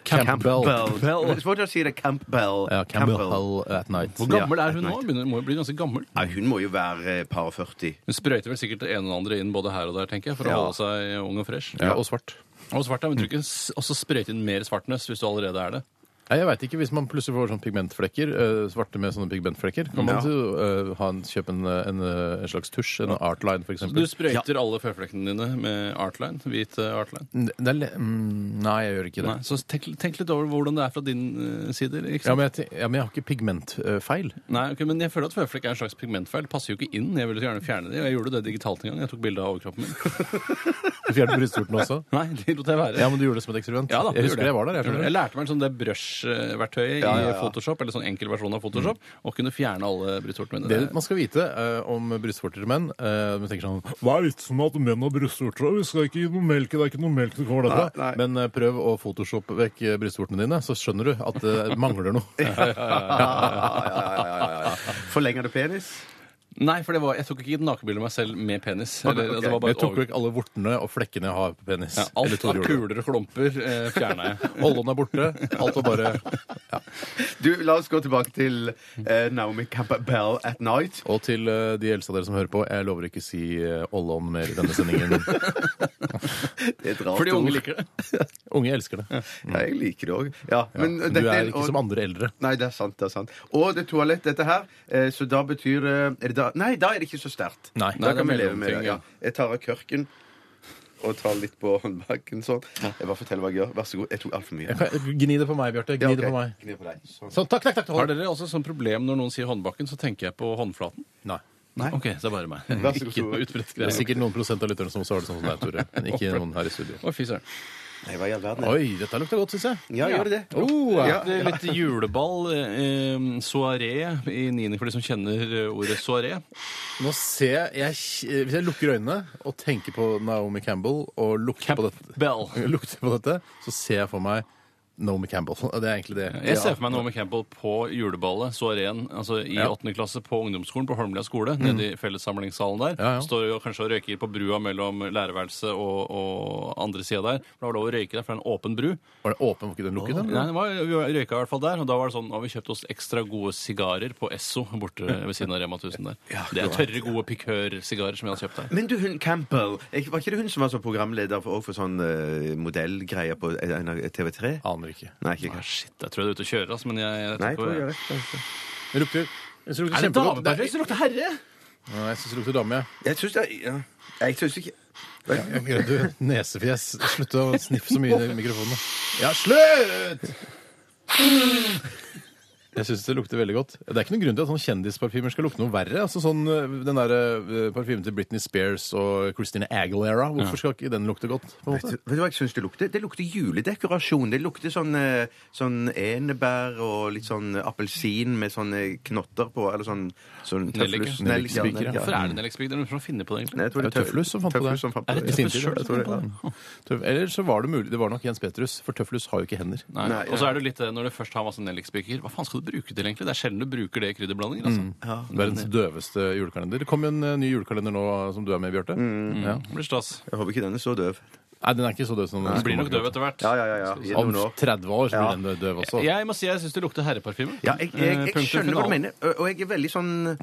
Campbell. Det er svårt å si det. Campbell.
Ja, Campbell at night.
Hvor gammel er hun nå? Begynner, må jo bli ganske gammel.
Nei, hun må jo være eh, par og 40.
Hun sprøyter vel sikkert det ene og det andre inn både her og der, tenker jeg, for
Ja.
å holde seg ung og fresh.
Ja, og svart.
Og svart, ja, men tror ikke s- også sprøyte inn mer svartness hvis du allerede er det.
Nei, jeg veit ikke. Hvis man plutselig får sånne pigmentflekker, eh, svarte med sånne pigmentflekker, kan man
Ja.
jo eh, ha en, kjøpe en, eh, en, eh, en slags tusj, en artline f.eks.
Du sprøyter alle føflekkene dine med artline, hvit eh, artline.
Det er le mm, nei, jeg gjør ikke det.
Nei, så tenk, tenk litt over hvordan det er fra din eh, side. Ikke
Ja
sant?
men, jeg, ten- ja, men jeg har ikke pigmentfeil.
Nei, ok, men jeg føler at føflekk er en slags pigmentfeil. Det Passer jo ikke inn. Jeg ville så gjerne fjerne det. og Jeg gjorde det digitalt en gang. Jeg tok bilde av overkroppen min.
Du fjerner brystvorten også?
Nei, det lot jeg være.
Ja, men du gjorde det som et eksperiment?
Ja da,
jeg
gjorde
husker jeg var der. Jeg,
Gjorde det.
skjønner.
jeg lærte meg en sånn det brush-verktøyet i Photoshop, eller sånn enkel versjon av Photoshop, og kunne fjerne alle brystvortene mine.
Mm. Det man skal vite eh, om brystvorter til menn eh, Man tenker sånn Hva er vitsen med at menn har brystvorter? da? Vi skal ikke gi noe melk, det er ikke noe melk som kommer derfra.
Nei, nei.
Men eh, prøv å photoshoppe vekk eh, brystvortene dine, så skjønner du at det mangler noe.
Forlenger du penis?
Nei, for det var, jeg tok ikke et nakenbilde av meg selv med penis. Eller,
ok.
det var bare
Jeg
et
tok
over...
vekk alle vortene og flekkene jeg har på penis.
ja,
Eller
alt
Tore
av
gjorde det.
kuler og klumper eh, fjerna jeg.
Ollon er borte. Alt var bare
Du, La oss gå tilbake til eh, Naomi Campbell At Night.
Og til eh, de eldste av dere som hører på, jeg lover ikke å si eh, Ollon mer i denne sendingen.
Det er et rart
For de
ord.
unge liker det.
Unge elsker det.
Ja, jeg liker det òg. Ja. men
Du
dette er
er
en-
ikke som andre eldre.
Nei, det er sant. det er sant Og det er toalett, dette her. eh, Så da betyr det er det da, Nei, da er det ikke så sterkt.
Nei,
da
nei,
kan vi
det er
leve med det.
mellomting,
Ja. Jeg tar av kørken og tar litt på håndbaken sånn. Jeg bare forteller hva jeg gjør. Vær så god. Jeg tok altfor mye.
Gni det på meg, Bjarte. Gni
Ja,
det
ok.
på meg.
Gni på deg. Sånn.
Sånn, takk, takk, takk.
Har dere også sånn problem når noen sier håndbakken, så tenker jeg på håndflaten?
Nei.
Nei.
Ok, så det er bare meg.
Vær så god,
Ikke noe
Tore.
utbredt
Det er
greie.
sikkert noen prosent av lytterne som også har det sånn som deg, Tore. Men ikke noen her i studio.
Å, fy søren.
Nei, hva i all verden?
Oi, dette lukter godt, syns jeg.
Ja, gjør det det?
Oh,
Ja.
Det er litt juleball, eh, soaré, i niende for de som kjenner eh, ordet soaré.
Nå ser jeg, jeg kj- eh, Hvis jeg lukker øynene og tenker på Naomi Campbell og lukter på dette,
Bell.
lukter på dette så ser jeg for meg Naomi Campbell. Det er egentlig det.
Jeg ser for meg Naomi Campbell på juleballet, så ren, altså i
Ja.
åttende klasse på ungdomsskolen på Holmlia skole, nede i fellessamlingssalen der.
Ja, ja.
Står jo kanskje og røyker på brua mellom lærerværelset og, og andre sida der. For Da var det lov å røyke der, for det er en åpen bru.
Var den åpen, var ikke den lukket? den?
Nei, det var, vi røyka i hvert fall der, og da var det sånn at vi kjøpte oss ekstra gode sigarer på Esso borte ved siden av Rema 1000 der. Det er tørre, gode pikørsigarer som jeg hadde kjøpt der.
Men du, hun Campbell, ikke- var ikke det hun som var sånn programleder for, og for sånn eh, modellgreier på en av TV3?
Aner ikke.
Nei, ikke
Ah,
kanskje.
shit, jeg tror jeg er ute og kjører, altså, men jeg, jeg tror
Nei, jeg
ikke-
tror jeg vet det.
Det lukter Jeg syns det
Er
lukter
det
kjempegodt. Det er-
dameperle som lukter herre?
Nei, jeg syns det lukter dame, jeg.
Jeg syns det er- ja. Jeg syns ikke
Ja, Du, nesefjes. Slutt å sniffe så mye i mikrofonene. Ja, slutt! Jeg syns det lukter veldig godt. Det er ikke noen grunn til at sånn kjendisparfymer skal lukte noe verre. Altså sånn, øh, Den der øh, parfymen til Britney Spears og Christina Aguilera, hvorfor skal ikke den lukte godt? på en
Vet
måte?
du, vet du hva jeg syns det lukter? Det lukter juledekorasjon. Det lukter sånn, eh, sånn enebær og litt sånn appelsin med sånne knotter på, eller sånn, sånn
Nellik,
tøflus.
ja.
Nellik, ja,
Nellikspiker, ja.
nellik, ja.
Hvorfor er det Nelliksbygd? Det er noen som finner på det,
Nei,
egentlig.
jeg tror
Det er jo Tøflus som fant på det.
Tøflus som fant på
Er det
det.
I sin
Tøflus
tid,
selv
jeg
som
tror det,
fant
ja. Tøf- Eller så var det mulig Det var nok Jens Petrus, for Tøflus har jo ikke hender.
Nei.
Nei,
Og så er det jo litt det, når du først har masse nellikspiker, hva faen skal du bruke til egentlig? Det er sjelden du bruker det i krydderblandinger, altså.
Mm.
Verdens døveste julekalender. Det kom jo en eh, ny julekalender nå som du er med i, Bjarte. Ja.
Det blir stas.
Jeg håper ikke den er så døv.
Nei, den er ikke så døv som
Du blir nok døv etter hvert.
Ja, ja, ja. ja. I
Om
noen år.
30 år så
Ja.
blir den døv også.
Jeg må si jeg syns det lukter herreparfyme.
Ja, jeg, jeg,
Eh,
jeg,
punktum
skjønner hva du
finale.
mener, og- og jeg er veldig sånn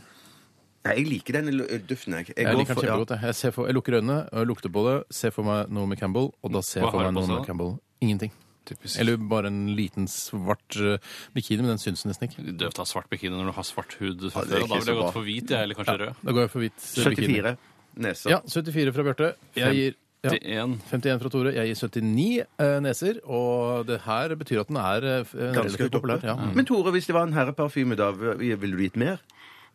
Nei, jeg liker den l- duften, jeg. Jeg,
Jeg
går
liker den
for- ja.
kjempegodt. Jeg, jeg, ser for, jeg lukker øynene, og lukter på det, ser for meg Naomi Campbell, og da ser jeg
Hva
for
har
meg
du på seg
Naomi
da?
Campbell ingenting.
Typisk.
Eller bare en liten svart eh, bikini, men den syns nesten ikke.
Døvt å ha svart bikini når du har svart hud fra før. og
det er
Da
ikke
ville jeg
så bra.
gått for hvit, jeg, eller kanskje rød.
Da går jeg for hvit eh, bikini.
74 neser.
Ja, 74 fra Bjarte. Jeg gir ja,
Til en
51 fra Tore. Jeg gir 79 eh, neser, og det her betyr at den er eh, f- eh,
Ganske Mm.
relativt
høyt oppe.
populær. Ja.
Men Tore, hvis det var en herreparfyme, da v- ville du gitt mer?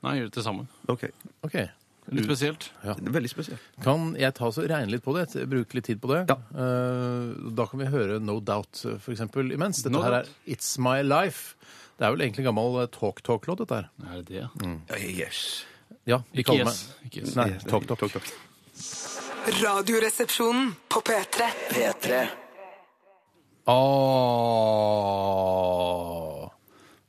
Nei, gjør det til sammen.
Ok,
Ok.
Litt spesielt.
det er Veldig spesielt.
Kan jeg ta så regne litt på det? t- Bruke litt tid på det?
Ja.
Eh, da kan vi høre No Doubt, eh, for eksempel, imens. Dette
No
her
Doubt.
er It's My Life. Det er vel egentlig gammel eh, Talk Talk-låt, dette her.
Er det det?
Mm.
Ja, Eh, Yes.
Ja, de
Ikke
kaller
yes.
meg
Ikke yes.
Nei,
Yes,
Talk Talk.
Talk, talk.
Radioresepsjonen på P3.
P3
Åh.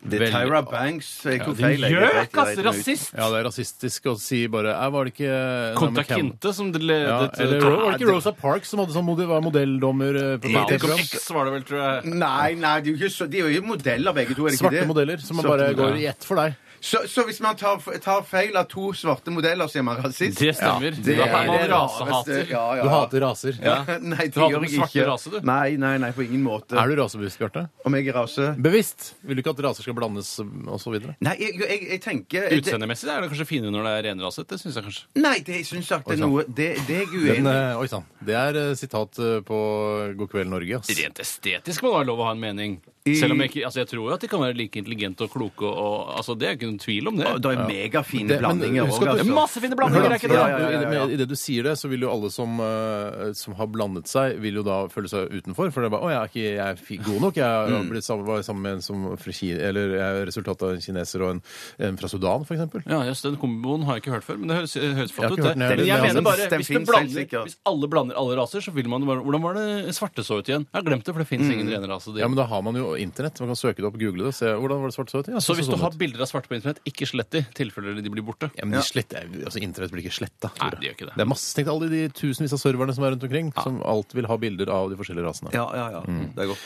Det er
Veldig-
Tyra Banks.
eh,
Jeg tok feil. jeg. Jeg
Gjøk,
dreit-
ass!
dreit meg ut.
Rasist!
Ja, det er rasistisk å si bare «Nei, Var det ikke eh,
Konta
Naomi Campbell?»
Kinte som det
Ja,
ledet
eller
Ah,
var det ikke Rosa Parks som hadde sånn modell, var modelldommer eh, på
Malcolm
TV-program?
X var det vel,
Mm,
tror jeg.
Nei, nei, de er jo ikke så, de er jo modeller begge to. er det ikke
Svarte
det?
modeller som man
Svarte
bare
modeller.
går i ett for deg.
så, så hvis man tar, tar feil av to svarte modeller, så er man rasist?
Det stemmer.
Det
da
er
er man
det rareste.
rasehater.
Ja, ja.
Du hater raser.
Nei, det
Du hater
gjør
den
jeg
svarte
ikke.
rase, du.
Nei, nei, nei, på ingen måte.
Er du rasebevisst, Bjarte?
Om jeg er rase?
Bevisst! Vil du ikke at raser skal blandes eh, osv.?
Nei, jeg, jeg, jeg tenker
Utseendemessig er det kanskje finere når det er renraset. Det syns jeg kanskje.
Det, nei, det, jeg syns at det
sant.
er noe Det, det er jeg
sånn. Den,
uenig i.
eh, oi sann. Det er eh, sitat eh, på God kveld, Norge. Ass.
Rent estetisk må det være lov å ha en mening. Selv om jeg ikke, altså jeg tror jo at de kan være like intelligente og kloke. Og, og, altså det er ikke noen tvil om det.
Det er megafine
Det- men
blandinger.
husk at
også,
du-
altså.
Det er masse fine blandinger, er
Hør
ikke
da,
det?
ja,
ja, ja, ja, ja.
I det du sier det, så vil jo alle som, eh, som har blandet seg, vil jo da føle seg utenfor. For det er bare 'Å, jeg er ikke jeg er fi- god nok. Jeg har blitt sammen, var sammen med en som fra Ki- Eller jeg er resultatet av en kineser og en, en fra Sudan, for eksempel.
Ja, jøss, Den komboen har jeg ikke hørt før, men det høres, høres
Jeg har
flott ut.
ikke hørt
det.
den heller.
Men jeg
Den-
mener bare,
den
hvis, det
finnes helt
blander,
sikkert.
hvis alle blander alle raser, så vil man bare Hvordan var det svarte så ut igjen? Jeg har glemt det, for det fins ingen rene rase.
Mm. Ja, men da har man jo internett. Man kan søke det opp, google det, se hvordan var det svart så ut. Ja,
så hvis
sånn
du har
ut.
bilder av svarte på internett, ikke slett de, i tilfelle de blir borte.
ja, men de sletter, altså Internett blir ikke sletta.
Nei, det gjør ikke det.
Det er masse, tenk deg alle de tusenvis av serverne som er rundt omkring, som alt vil ha bilder av de forskjellige rasene. Mm.
Ja, ja, ja. Det er godt.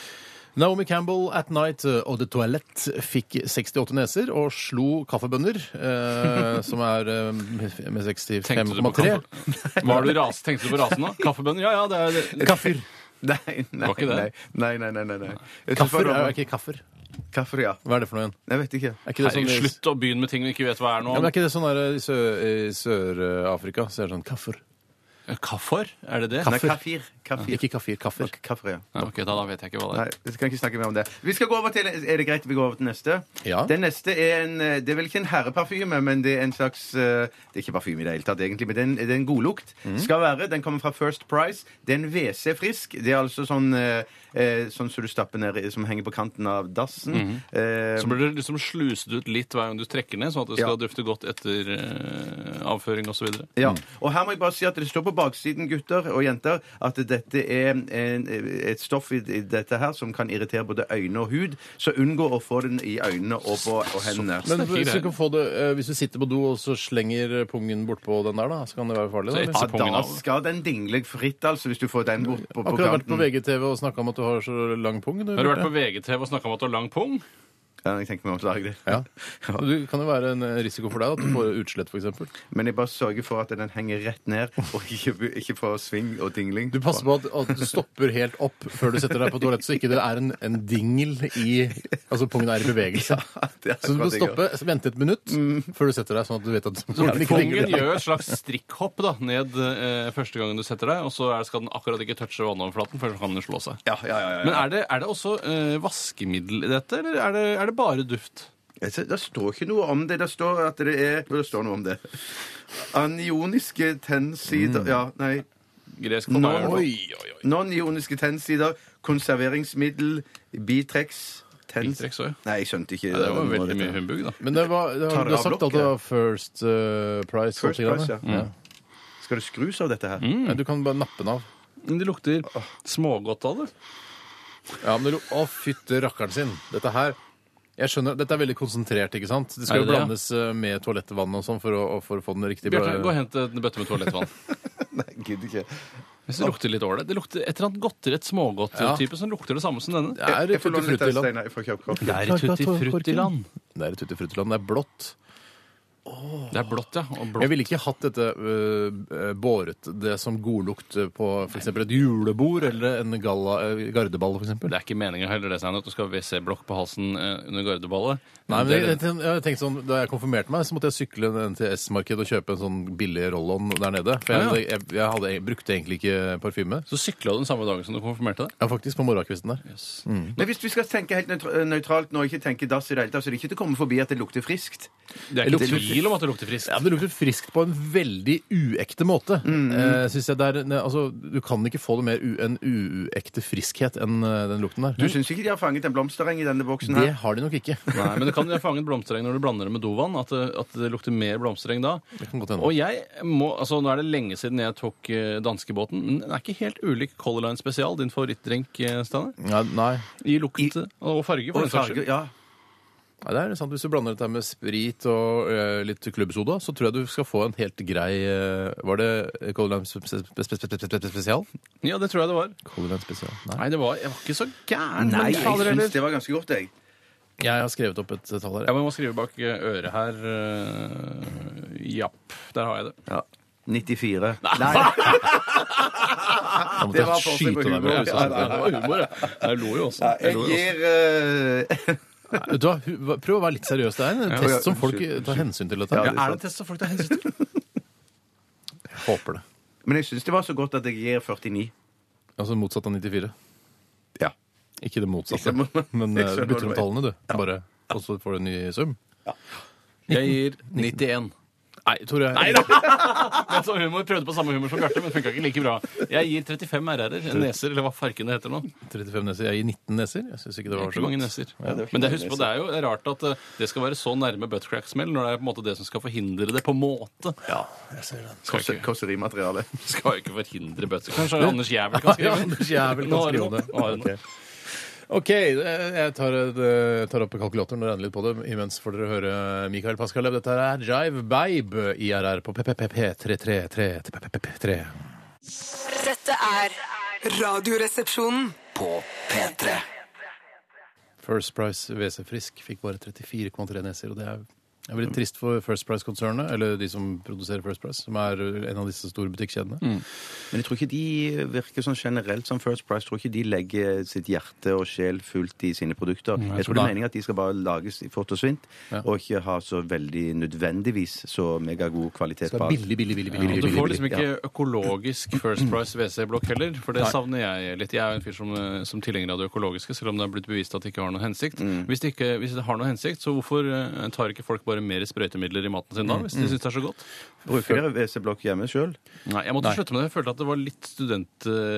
Naomi Campbell at Night eh, og The Toilet fikk 68 neser og slo kaffebønner, eh, som er eh, med
Tenkte du på
65,3.
kaffe? Var du ras, tenkte du på rasen da? Kaffebønner? Ja, ja, det er det.
Kaffer.
Nei, nei,
Var ikke det?
nei. nei, nei, nei, nei. Jeg tror
Kaffer
det
er
var-
jo ikke kaffer.
Kaffer, ja.
Hva er det for noe igjen?
Jeg vet ikke.
Er ikke det sånn,
Herregud, Slutt å begynne med ting vi ikke vet hva er nå.
Ja, men er ikke det sånn der eh, i Sø- i Sør-Afrika så er det sånn kaffer?
Kaffer? Eh, Er det det?
Nei, kafir. Kafir.
Ikke kaffir, kaffer.
Kaffer, ja.
Nei, ok, da, da vet jeg ikke hva det
Nei,
er.
vi skal ikke snakke mer om det. Vi skal gå over til, Er det greit vi går over til neste?
Ja.
Den neste er en eh, Det er vel ikke en herreparfyme, men det er en slags eh, Det er ikke parfyme i det hele tatt, egentlig, men det er en, det er en godlukt. Skal være. Den kommer fra First Price. Det er en WC Frisk. Det er altså sånn eh, eh, Sånn som du stapper ned i- Som henger på kanten av dassen. Eh,
Så blir det liksom sluset ut litt hver gang du trekker ned, sånn at det skal
Ja.
dufte godt etter eh, avføring osv.
Mm.
ja. Og her må jeg bare si at det står på baksiden, gutter og jenter, at dette er en, et stoff i i dette her som kan irritere både øyne og hud, så unngå å få den i øynene og på og hendene.
Men
Snakker
hvis du,
greier.
kan få det, eh, hvis du sitter på do og så slenger pungen bortpå den der, da, så kan det være farlig?
Så
Da,
et-
eller?
Ja,
pungen
da
av.
skal den dingle fritt, altså, hvis du får den bort på, på
Akkurat vært på
kanten.
VGTV og snakka om at du har så lang pung. Du,
Har du vært på
Bjarte.
VGTV og snakka om at du har lang pung?
Ja, jeg tenker meg om å lage det.
ja. Du det kan jo være en eh, risiko for deg at du får utslett, f.eks.
Men jeg bare sørger for at den henger rett ned, og ikke, ikke får sving og dingling.
Du passer på at, at du stopper helt opp før du setter deg på toalettet, så ikke det er en, en dingel i Altså pungen er i bevegelse.
det er
så du må
akkurat det jeg
stoppe, vente et minutt før du setter deg, sånn at du vet at
Pungen gjør et slags strikkhopp da, ned eh, første gangen du setter deg, og så er, skal den akkurat ikke touche vannoverflaten, før så kan den slå seg.
Ja, ja, ja, ja.
Men er det, er det også eh, vaskemiddel i dette, eller er det, er det bare duft?
Jeg ser- Det står ikke noe om det. Det står at det er Jo, det står noe om det. Anioniske tennsider
Mm.
Ja, nei.
Gresk for meg, i hvert fall.
Oi, oi, oi.
Non-ioniske tennsider, konserveringsmiddel, Bitrex tenns...
Bitrex også, ja.
Nei, jeg skjønte ikke.
Ja, det var
noe av
veldig mye
dette.
humbug, da.
Men det var, det var,
Tar
du har
av
sagt at det var First eh, Price.
First
og alt det
price,
greiene.
ja.
Mm.
Skal det skrus av dette her?
Ja, Du kan bare nappe den av.
Men det lukter smågodt av det.
Ja, men det lo- Å, fytte rakkeren sin. Dette her jeg skjønner, Dette er veldig konsentrert. ikke sant? Det skal
Er
jo
det det, ja?
blandes eh, med toalettvann og sånn for, å- for å få den riktige
Bjarte, gå og
bra-
hent en bøtte med toalettvann.
Nei, gidder ikke.
Hvis det lukter litt ålreit. Det lukter et eller annet godterett smågodt-type som lukter det samme som denne.
Det er
Jeg
tutti
får låne litt av
frutti-land.
Steinar fra Kjøpkopp.
Det er tutti frutti-land.
Det er tutti frutti-land. Det er blått.
Det er blått, ja. Og
Jeg
blått.
ville ikke hatt dette øh, øh, båret det som godlukt eh, på f.eks. et julebord eller en galla, øh, gardeball,
Det
f.eks.
er ikke meningen heller, det, Steinar, at du skal ha WC-blokk på halsen eh, under gardeballet.
Nei, men
Det
jeg,
er-
jeg, ten- jeg tenkte sånn, Da jeg konfirmerte meg, så måtte jeg sykle ned til S-markedet og kjøpe en sånn billig roll-on der nede. For jeg,
Ja, ja.
jeg, jeg, hadde, jeg brukte egentlig ikke parfyme.
Så sykla du den samme dagen som du konfirmerte deg?
Ja, faktisk, på morgenkvisten der.
Men hvis vi skal tenke helt nøytra- nøytralt nå, og ikke tenke dass i det hele tatt, så er det ikke til å komme forbi at det lukter friskt.
Det er
Jeg
ikke
lukter-
tvil om at det lukter friskt.
Ja, men Det lukter friskt på en veldig uekte måte. Eh, synes jeg det er, ne, altså, Du kan ikke få det mer u, en uekte friskhet enn eh, den lukten
Du
der.
syns ikke de har fanget en blomstereng i denne boksen
Det
her?
har de nok ikke.
Nei, men det kan jo fange et blomstereng når du blander det med dovann. At, det- at det lukter mer blomstereng da.
Det kan godt hende.
Og jeg må, altså Nå er det lenge siden jeg tok eh, danskebåten, men den er ikke helt ulik Color Line Spesial, din favorittdrink, eh, Steinar.
Ja, nei.
I lukt eh, og farge. for den
Og
saks
farge,
skyld.
ja.
Nei, det er sant. Hvis du blander dette her med sprit og eh, litt klubbsoda, så tror jeg du skal få en helt grei eh, Var det Color Line spe- spe- spe- spe- spe- spe- spesial?
Ja, det tror jeg det var.
Color Line spesial. Nei.
Nei, det var, jeg var ikke så gæren.
Nei,
men
jeg
fader heller.
syns det var ganske godt, jeg.
Jeg har skrevet opp et tall her.
Jeg må skrive bak eh, øret her. eh, Japp. Der har jeg det.
Ja. 94. Nei!
Da måtte
det var
jeg
på seg
skyte
på
deg med
humor.
huset. altså.
Ja, det var humor, ja. Jeg lo jo også. Jeg
Jeg
lo jo også.
gir eh,
Nei, vet du hva, hu- hva- Prøv å være litt seriøs. Det er en
ja,
test som folk
unnskyld,
tar hensyn til. dette
Ja,
Ja,
her.
er det en test som folk tar hensyn til?
Jeg håper det.
Men jeg syns det var så godt at jeg gir 49.
Altså motsatt av 94.
Ja.
Ikke det motsatte.
Ikke det motsatte.
Men
Jeg
eh,
skjønner
du bytter
hva
om
du
tallene, du. Bare, og så får du en ny sum.
Jeg gir 91.
Nei, Tore.
Nei da! Jeg så humor, prøvde på samme humor som Bjarte, men funka ikke like bra. Jeg gir 35 RR-er. Neser, eller hva farken det heter nå.
35 neser. Jeg gir 19 neser. Jeg syns ikke det var
Ikke
så
mange
godt.
neser. Men det, husk på, det er jo rart at eh, det skal være så nærme buttcrack-smell, når det er på en måte det som skal forhindre det, på en måte.
Ja.
Skal ikke,
Kåserimateriale.
skal ikke forhindre buttcrack. Kanskje Anders Jævel
Ja,
kan skrive den?
Anders Jævel kan
Nå har du
skrive
noe.
det.
Nå har du noe.
Ok. OK, eh, jeg tar, eh, tar opp kalkulatoren og regner litt på det. Imens får dere høre Mikael Paskalev. Dette her er Jive Babe i RR på PPP333 PPP3.
Dette er Radioresepsjonen.
På P3
First Price WC Frisk fikk bare 34,3 neser, og det er det er veldig trist for First Price-konsernet, eller de som produserer First Price, som er en av disse store butikkjedene.
Mm.
Men jeg tror ikke de virker sånn generelt som First Price. Jeg tror ikke de legger sitt hjerte og sjel fullt i sine produkter. Jeg tror det er
det.
meningen at de skal bare lages i fort og svint, og ikke ha så veldig nødvendigvis så megagod
Det
kvalitet på
er
alt.
billig, billig, billig, billig,
Og
billig,
du får
billig,
liksom ikke økologisk First Price WC-blokk heller, for det savner jeg litt. Jeg er jo en fyr som, eh, som tilhenger av det Mm. økologiske, selv om det er blitt bevist at det ikke har noen hensikt. Hvis, det ikke, hvis det har noen hensikt, så hvorfor eh, tar ikke folk bare bare mer sprøytemidler i maten sin da, hvis de syns det er så godt.
Bruker dere WC-blokk hjemme sjøl?
Mm. Nei, jeg måtte slutte med det. Jeg følte at det var litt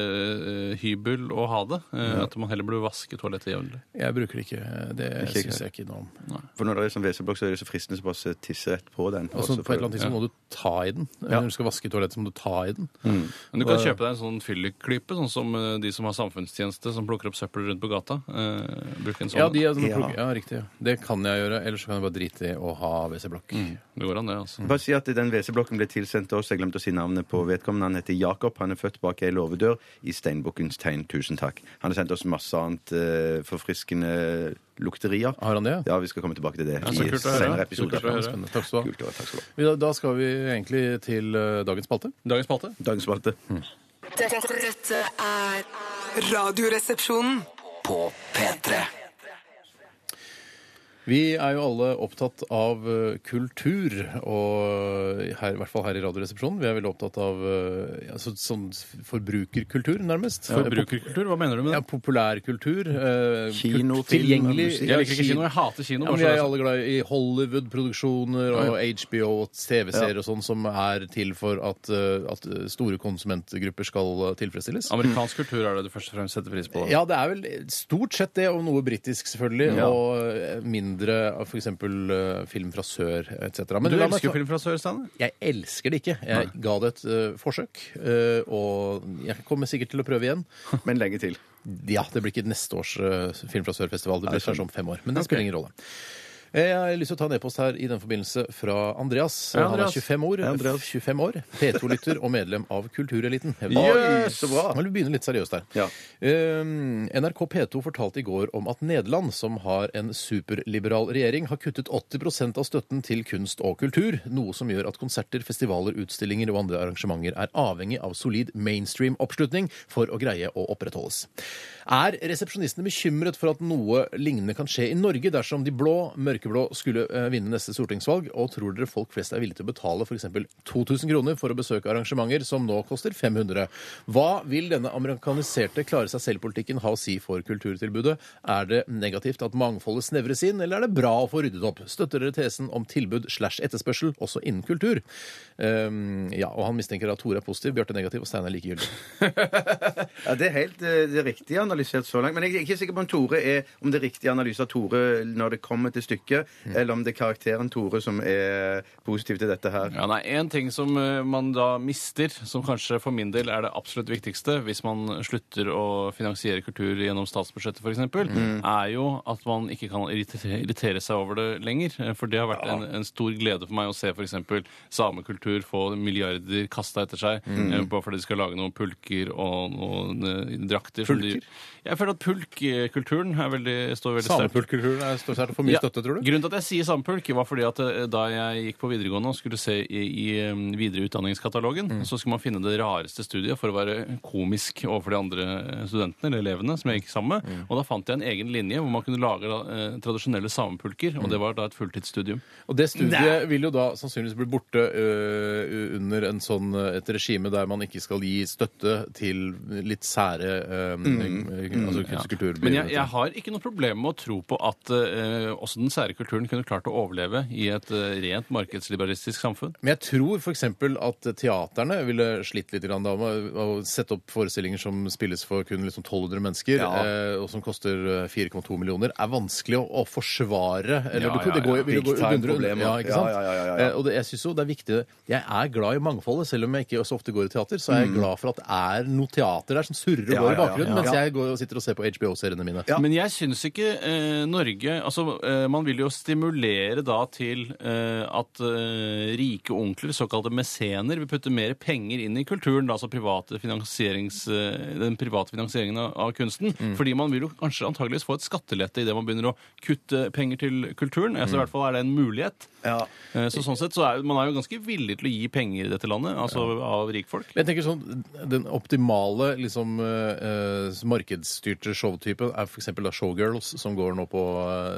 studenthybel å ha det. eh, At man heller burde vaske toalettet jevnlig.
Jeg bruker det ikke. Det
Ikke
syns jeg ikke noe om.
For når det er sånn WC-blokk, så er det så fristende å bare se- tisse rett på den.
Og så
Også
på et eller
for-
annet tidspunkt må du ta i den. Når du skal vaske i toalettet, så må du ta i den.
Mm.
Men du kan kjøpe deg en sånn fylliklype, sånn som eh, de som har samfunnstjeneste, som plukker opp søppel rundt på gata. Eh, bruk en sånn.
Ja, de er sånne
Ja.
plugg- ja, riktig. ja. Det kan jeg gjøre. Ellers så kan jeg bare drite i å ha WC-blokk.
Mm.
Det går an, det, altså.
Bare si at den WC-blokken ble tilsendt oss. Jeg glemte å si navnet på vedkommende. Han heter Jakob. Han er født bak ei låvedør i steinbukkens tegn. Tusen takk. Han har sendt oss masse annet eh, forfriskende lukterier.
Har han det?
Ja, vi skal komme tilbake til det
så
i
kult å høre.
senere
Kult å
episoder.
høre.
Ja, Spennende. Takk skal du ha.
Kult å høre. Takk skal du ha.
Vi- Da skal vi egentlig til eh, dagens spalte.
Dagens spalte.
Dagens spalte.
Dette, dette er
Radioresepsjonen.
På P3
Vi er jo alle opptatt av eh, kultur, og her, i hvert fall her i Radioresepsjonen. Vi er veldig opptatt av eh, ja, så, sånn forbrukerkultur, nærmest.
Forbrukerkultur, hva mener du med
Ja,
det?
populærkultur. eh,
Kino,
kult-
film,
tilgjengelig.
musikk.
Jeg liker ikke kino, jeg hater kino.
Ja,
bare
men
så
vi er
det
jo
er sagt.
alle glad i Hollywood-produksjoner og HBO og TV-serier og sånn, som er til for at, eh, at store konsumentgrupper skal eh, tilfredsstilles.
Amerikansk kultur er det du først og fremst setter pris på?
Ja, det er vel stort sett det, og noe britisk selvfølgelig, og eh, mindre av f.eks. film fra sør etc. Men
Du
la meg
elsker
ta-
jo film fra sør, Steinar.
Jeg elsker det ikke. Jeg ga det et eh, forsøk, eh, og jeg kommer sikkert til å prøve igjen.
Men lenge til.
Ja, det blir ikke neste års eh, Film fra Sør-festival. Det blir kanskje om fem år. Men det spiller ingen rolle. Eh, Jeg har lyst til å ta en e-post her i den forbindelse fra Andreas.
Hei,
Han
Andreas.
er 25 år,
Hei, Andreas.
25 år P2-lytter og medlem av Kultureliten. Jeg vil-
Oi, så bra.
Nå vil vi begynne litt seriøst her.
Ja.
Um, NRK P2 fortalte i går om at Nederland, som har en superliberal regjering, har kuttet 80 av støtten til kunst og kultur, noe som gjør at konserter, festivaler, utstillinger og andre arrangementer er avhengig av solid mainstream oppslutning for å greie å opprettholdes. Er resepsjonistene bekymret for at noe lignende kan skje i Norge dersom de blå, mørkeblå, skulle eh, vinne neste stortingsvalg, og tror dere folk flest er villige til å betale f.eks. 2000 kroner for å besøke arrangementer som nå koster 500? Hva vil denne amerikaniserte klare-seg-selv-politikken ha å si for kulturtilbudet? Er det negativt at mangfoldet snevres inn, eller er det bra å få ryddet opp? Støtter dere tesen om tilbud slash etterspørsel også innen kultur? Ehm, ja, og han mistenker at Tore er positiv, Bjarte er negativ og Steinar er likegyldig.
Ja, Det er helt eh, det er riktig analysert så langt. Men jeg er ikke sikker på om, Tore er, om det er riktig analyse av Tore når det kommer til stykket, eller om det er karakteren Tore som er positiv til dette her.
Ja, nei, En ting som eh, man da mister, som kanskje for min del er det absolutt viktigste hvis man slutter å finansiere kultur gjennom statsbudsjettet f.eks., eksempel,
Mm.
er jo at man ikke kan irritere, irritere seg over det lenger. eh, For det har vært en, en stor glede for meg å se f.eks. samekultur få milliarder kasta etter seg
Mm.
eh, bare fordi de skal lage noen pulker og noen eh, drakter. som de-
Pulker?
Jeg føler at pulkkulturen er veldig- står veldig sterkt.
Samepulkkulturen er står seg for mye
Ja,
støtte, tror du?
Grunnen til at jeg sier sampulk, var fordi at eh, da jeg gikk på videregående og skulle se i, i eh, videre utdanningskatalogen,
Mm.
så skulle man finne det rareste studiet for å være komisk overfor de andre eh, studentene eller elevene som jeg gikk sammen med.
Mm.
Og da fant jeg en egen linje hvor man kunne lage da, eh, tradisjonelle samepulker,
Mm.
og det var da et fulltidsstudium.
Og det studiet vil jo da sannsynligvis bli borte ø, under en sånn, ø, et regime der man ikke skal gi støtte til litt sære ø, ø, altså kunst- og kulturbegivenheter.
Mm. Men jeg, jeg har ikke noe problem med å tro på at eh, også den sære kulturen kunne klart å overleve i et eh, rent markedsliberalistisk samfunn.
Men jeg tror f.eks. at teaterne ville slitt litt grann da med å sette opp forestillinger som spilles for kun liksom 1200 mennesker, eh, og som koster eh, 4,2 millioner, er vanskelig å, å forsvare. Eller
Ja,
det,
ja,
det går,
ja.
vil jo gå
Big time
under-
problemer.
Ja, ikke sant?
Ja, ja, ja, ja, ja.
Eh, Og det, jeg synes jo det er viktig Jeg er glad i mangfoldet, selv om jeg ikke så ofte går i teater. Så er jeg glad for at det er noe teater der som surrer og
Mm. Ja,
går i
ja, ja,
bakgrunnen,
ja.
mens jeg går og sitter og ser på HBO-seriene mine.
Men jeg syns ikke eh, Norge Altså, eh, man vil jo stimulere da til eh, at eh, rike onkler, såkalte mesener, vil putte mer penger inn i kulturen, da, altså private finansierings, eh, den private finansieringen av, av kunsten. Fordi man vil jo kanskje antageligvis få et skattelette idet man begynner å kutte penger til kulturen. Altså, I hvert fall er det en mulighet.
Ja.
Eh, så sånn sett så er man er jo ganske villig til å gi penger i dette landet, altså av rikfolk.
Men jeg tenker sånn, Den optimale liksom, eh, eh, markedsstyrte showtypen er f.eks. Showgirls, som går nå på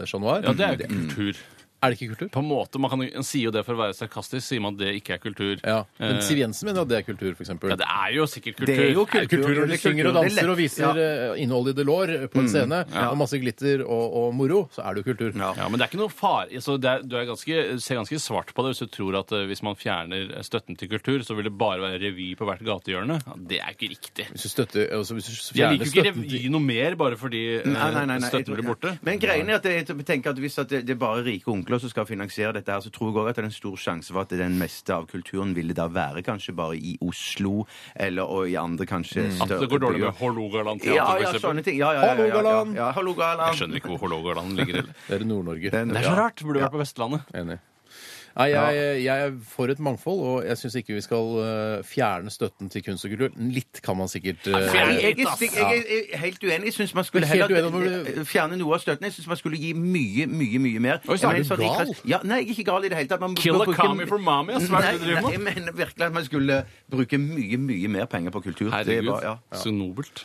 eh, Chat Noir.
Ja, det er jo ikke kultur.
Er det ikke kultur?
På en måte, man, kan, man sier jo det for å være sarkastisk, sier man at det ikke er kultur.
Ja. Men
Eh,
Siv Jensen mener jo at det er kultur, f.eks.
ja, det er jo sikkert kultur.
Det er jo
Kultur, kultur når du synger og danser og viser
Ja.
eh, innholdet i det lår
Mm.
på en scene, og masse glitter og, og moro, så er det jo kultur.
Ja, men det er ikke noe far... Altså, det er, du er ganske, ser ganske svart på det hvis du tror at eh, hvis man fjerner støtten til kultur, så vil det bare være revy på hvert gatehjørne. Ja, det er ikke riktig.
Hvis du støtter altså hvis du
Jeg
fjerner
liker jo ikke
støtten til-
revy noe mer bare fordi eh,
Nei, nei, nei, nei, jeg
støtten
tror-
blir borte.
Men greien er at jeg tenker at hvis at det det er bare rike onkler som skal finansiere dette, her, så tror jeg også at det er en stor sjanse for at den meste av kulturen ville da være kanskje bare i Oslo, eller og i andre kanskje
At det går dårlig med Hålogaland
Ja,
teater,
ja,
for
sånne
eksempel.
ting. Ja, ja, ja, ja, ja, ja,
Hålogaland!
ja. Hallo, Galand.
Jeg skjønner ikke hvor Hålogaland ligger. heller.
Det er i Nord-Norge.
Den-
Det er så rart. Burde vært på Vestlandet.
Enig. Nei, jeg, jeg er for et mangfold, og jeg syns ikke vi skal eh, fjerne støtten til kunst og kultur. Litt kan man sikkert eh,
Jeg,
fjern-
jeg, er stikk- jeg, er- jeg er helt uenig. Jeg syns man skulle
Helt
heller
uenig, men du-
fjerne noe av støtten. Jeg syns man skulle gi mye, mye mye mer.
Oi, så er
Jeg
du
mener,
gal?
Rikard- Ja, nei, jeg er ikke gal i det hele tatt. Man
Kill
bør
a commie for mommy, ass. Hva er det du
Nei,
driver med?
nei, Jeg mener virkelig at man skulle bruke mye, mye mer penger på kultur. Det er
Herregud,
bare- ja.
så nobelt.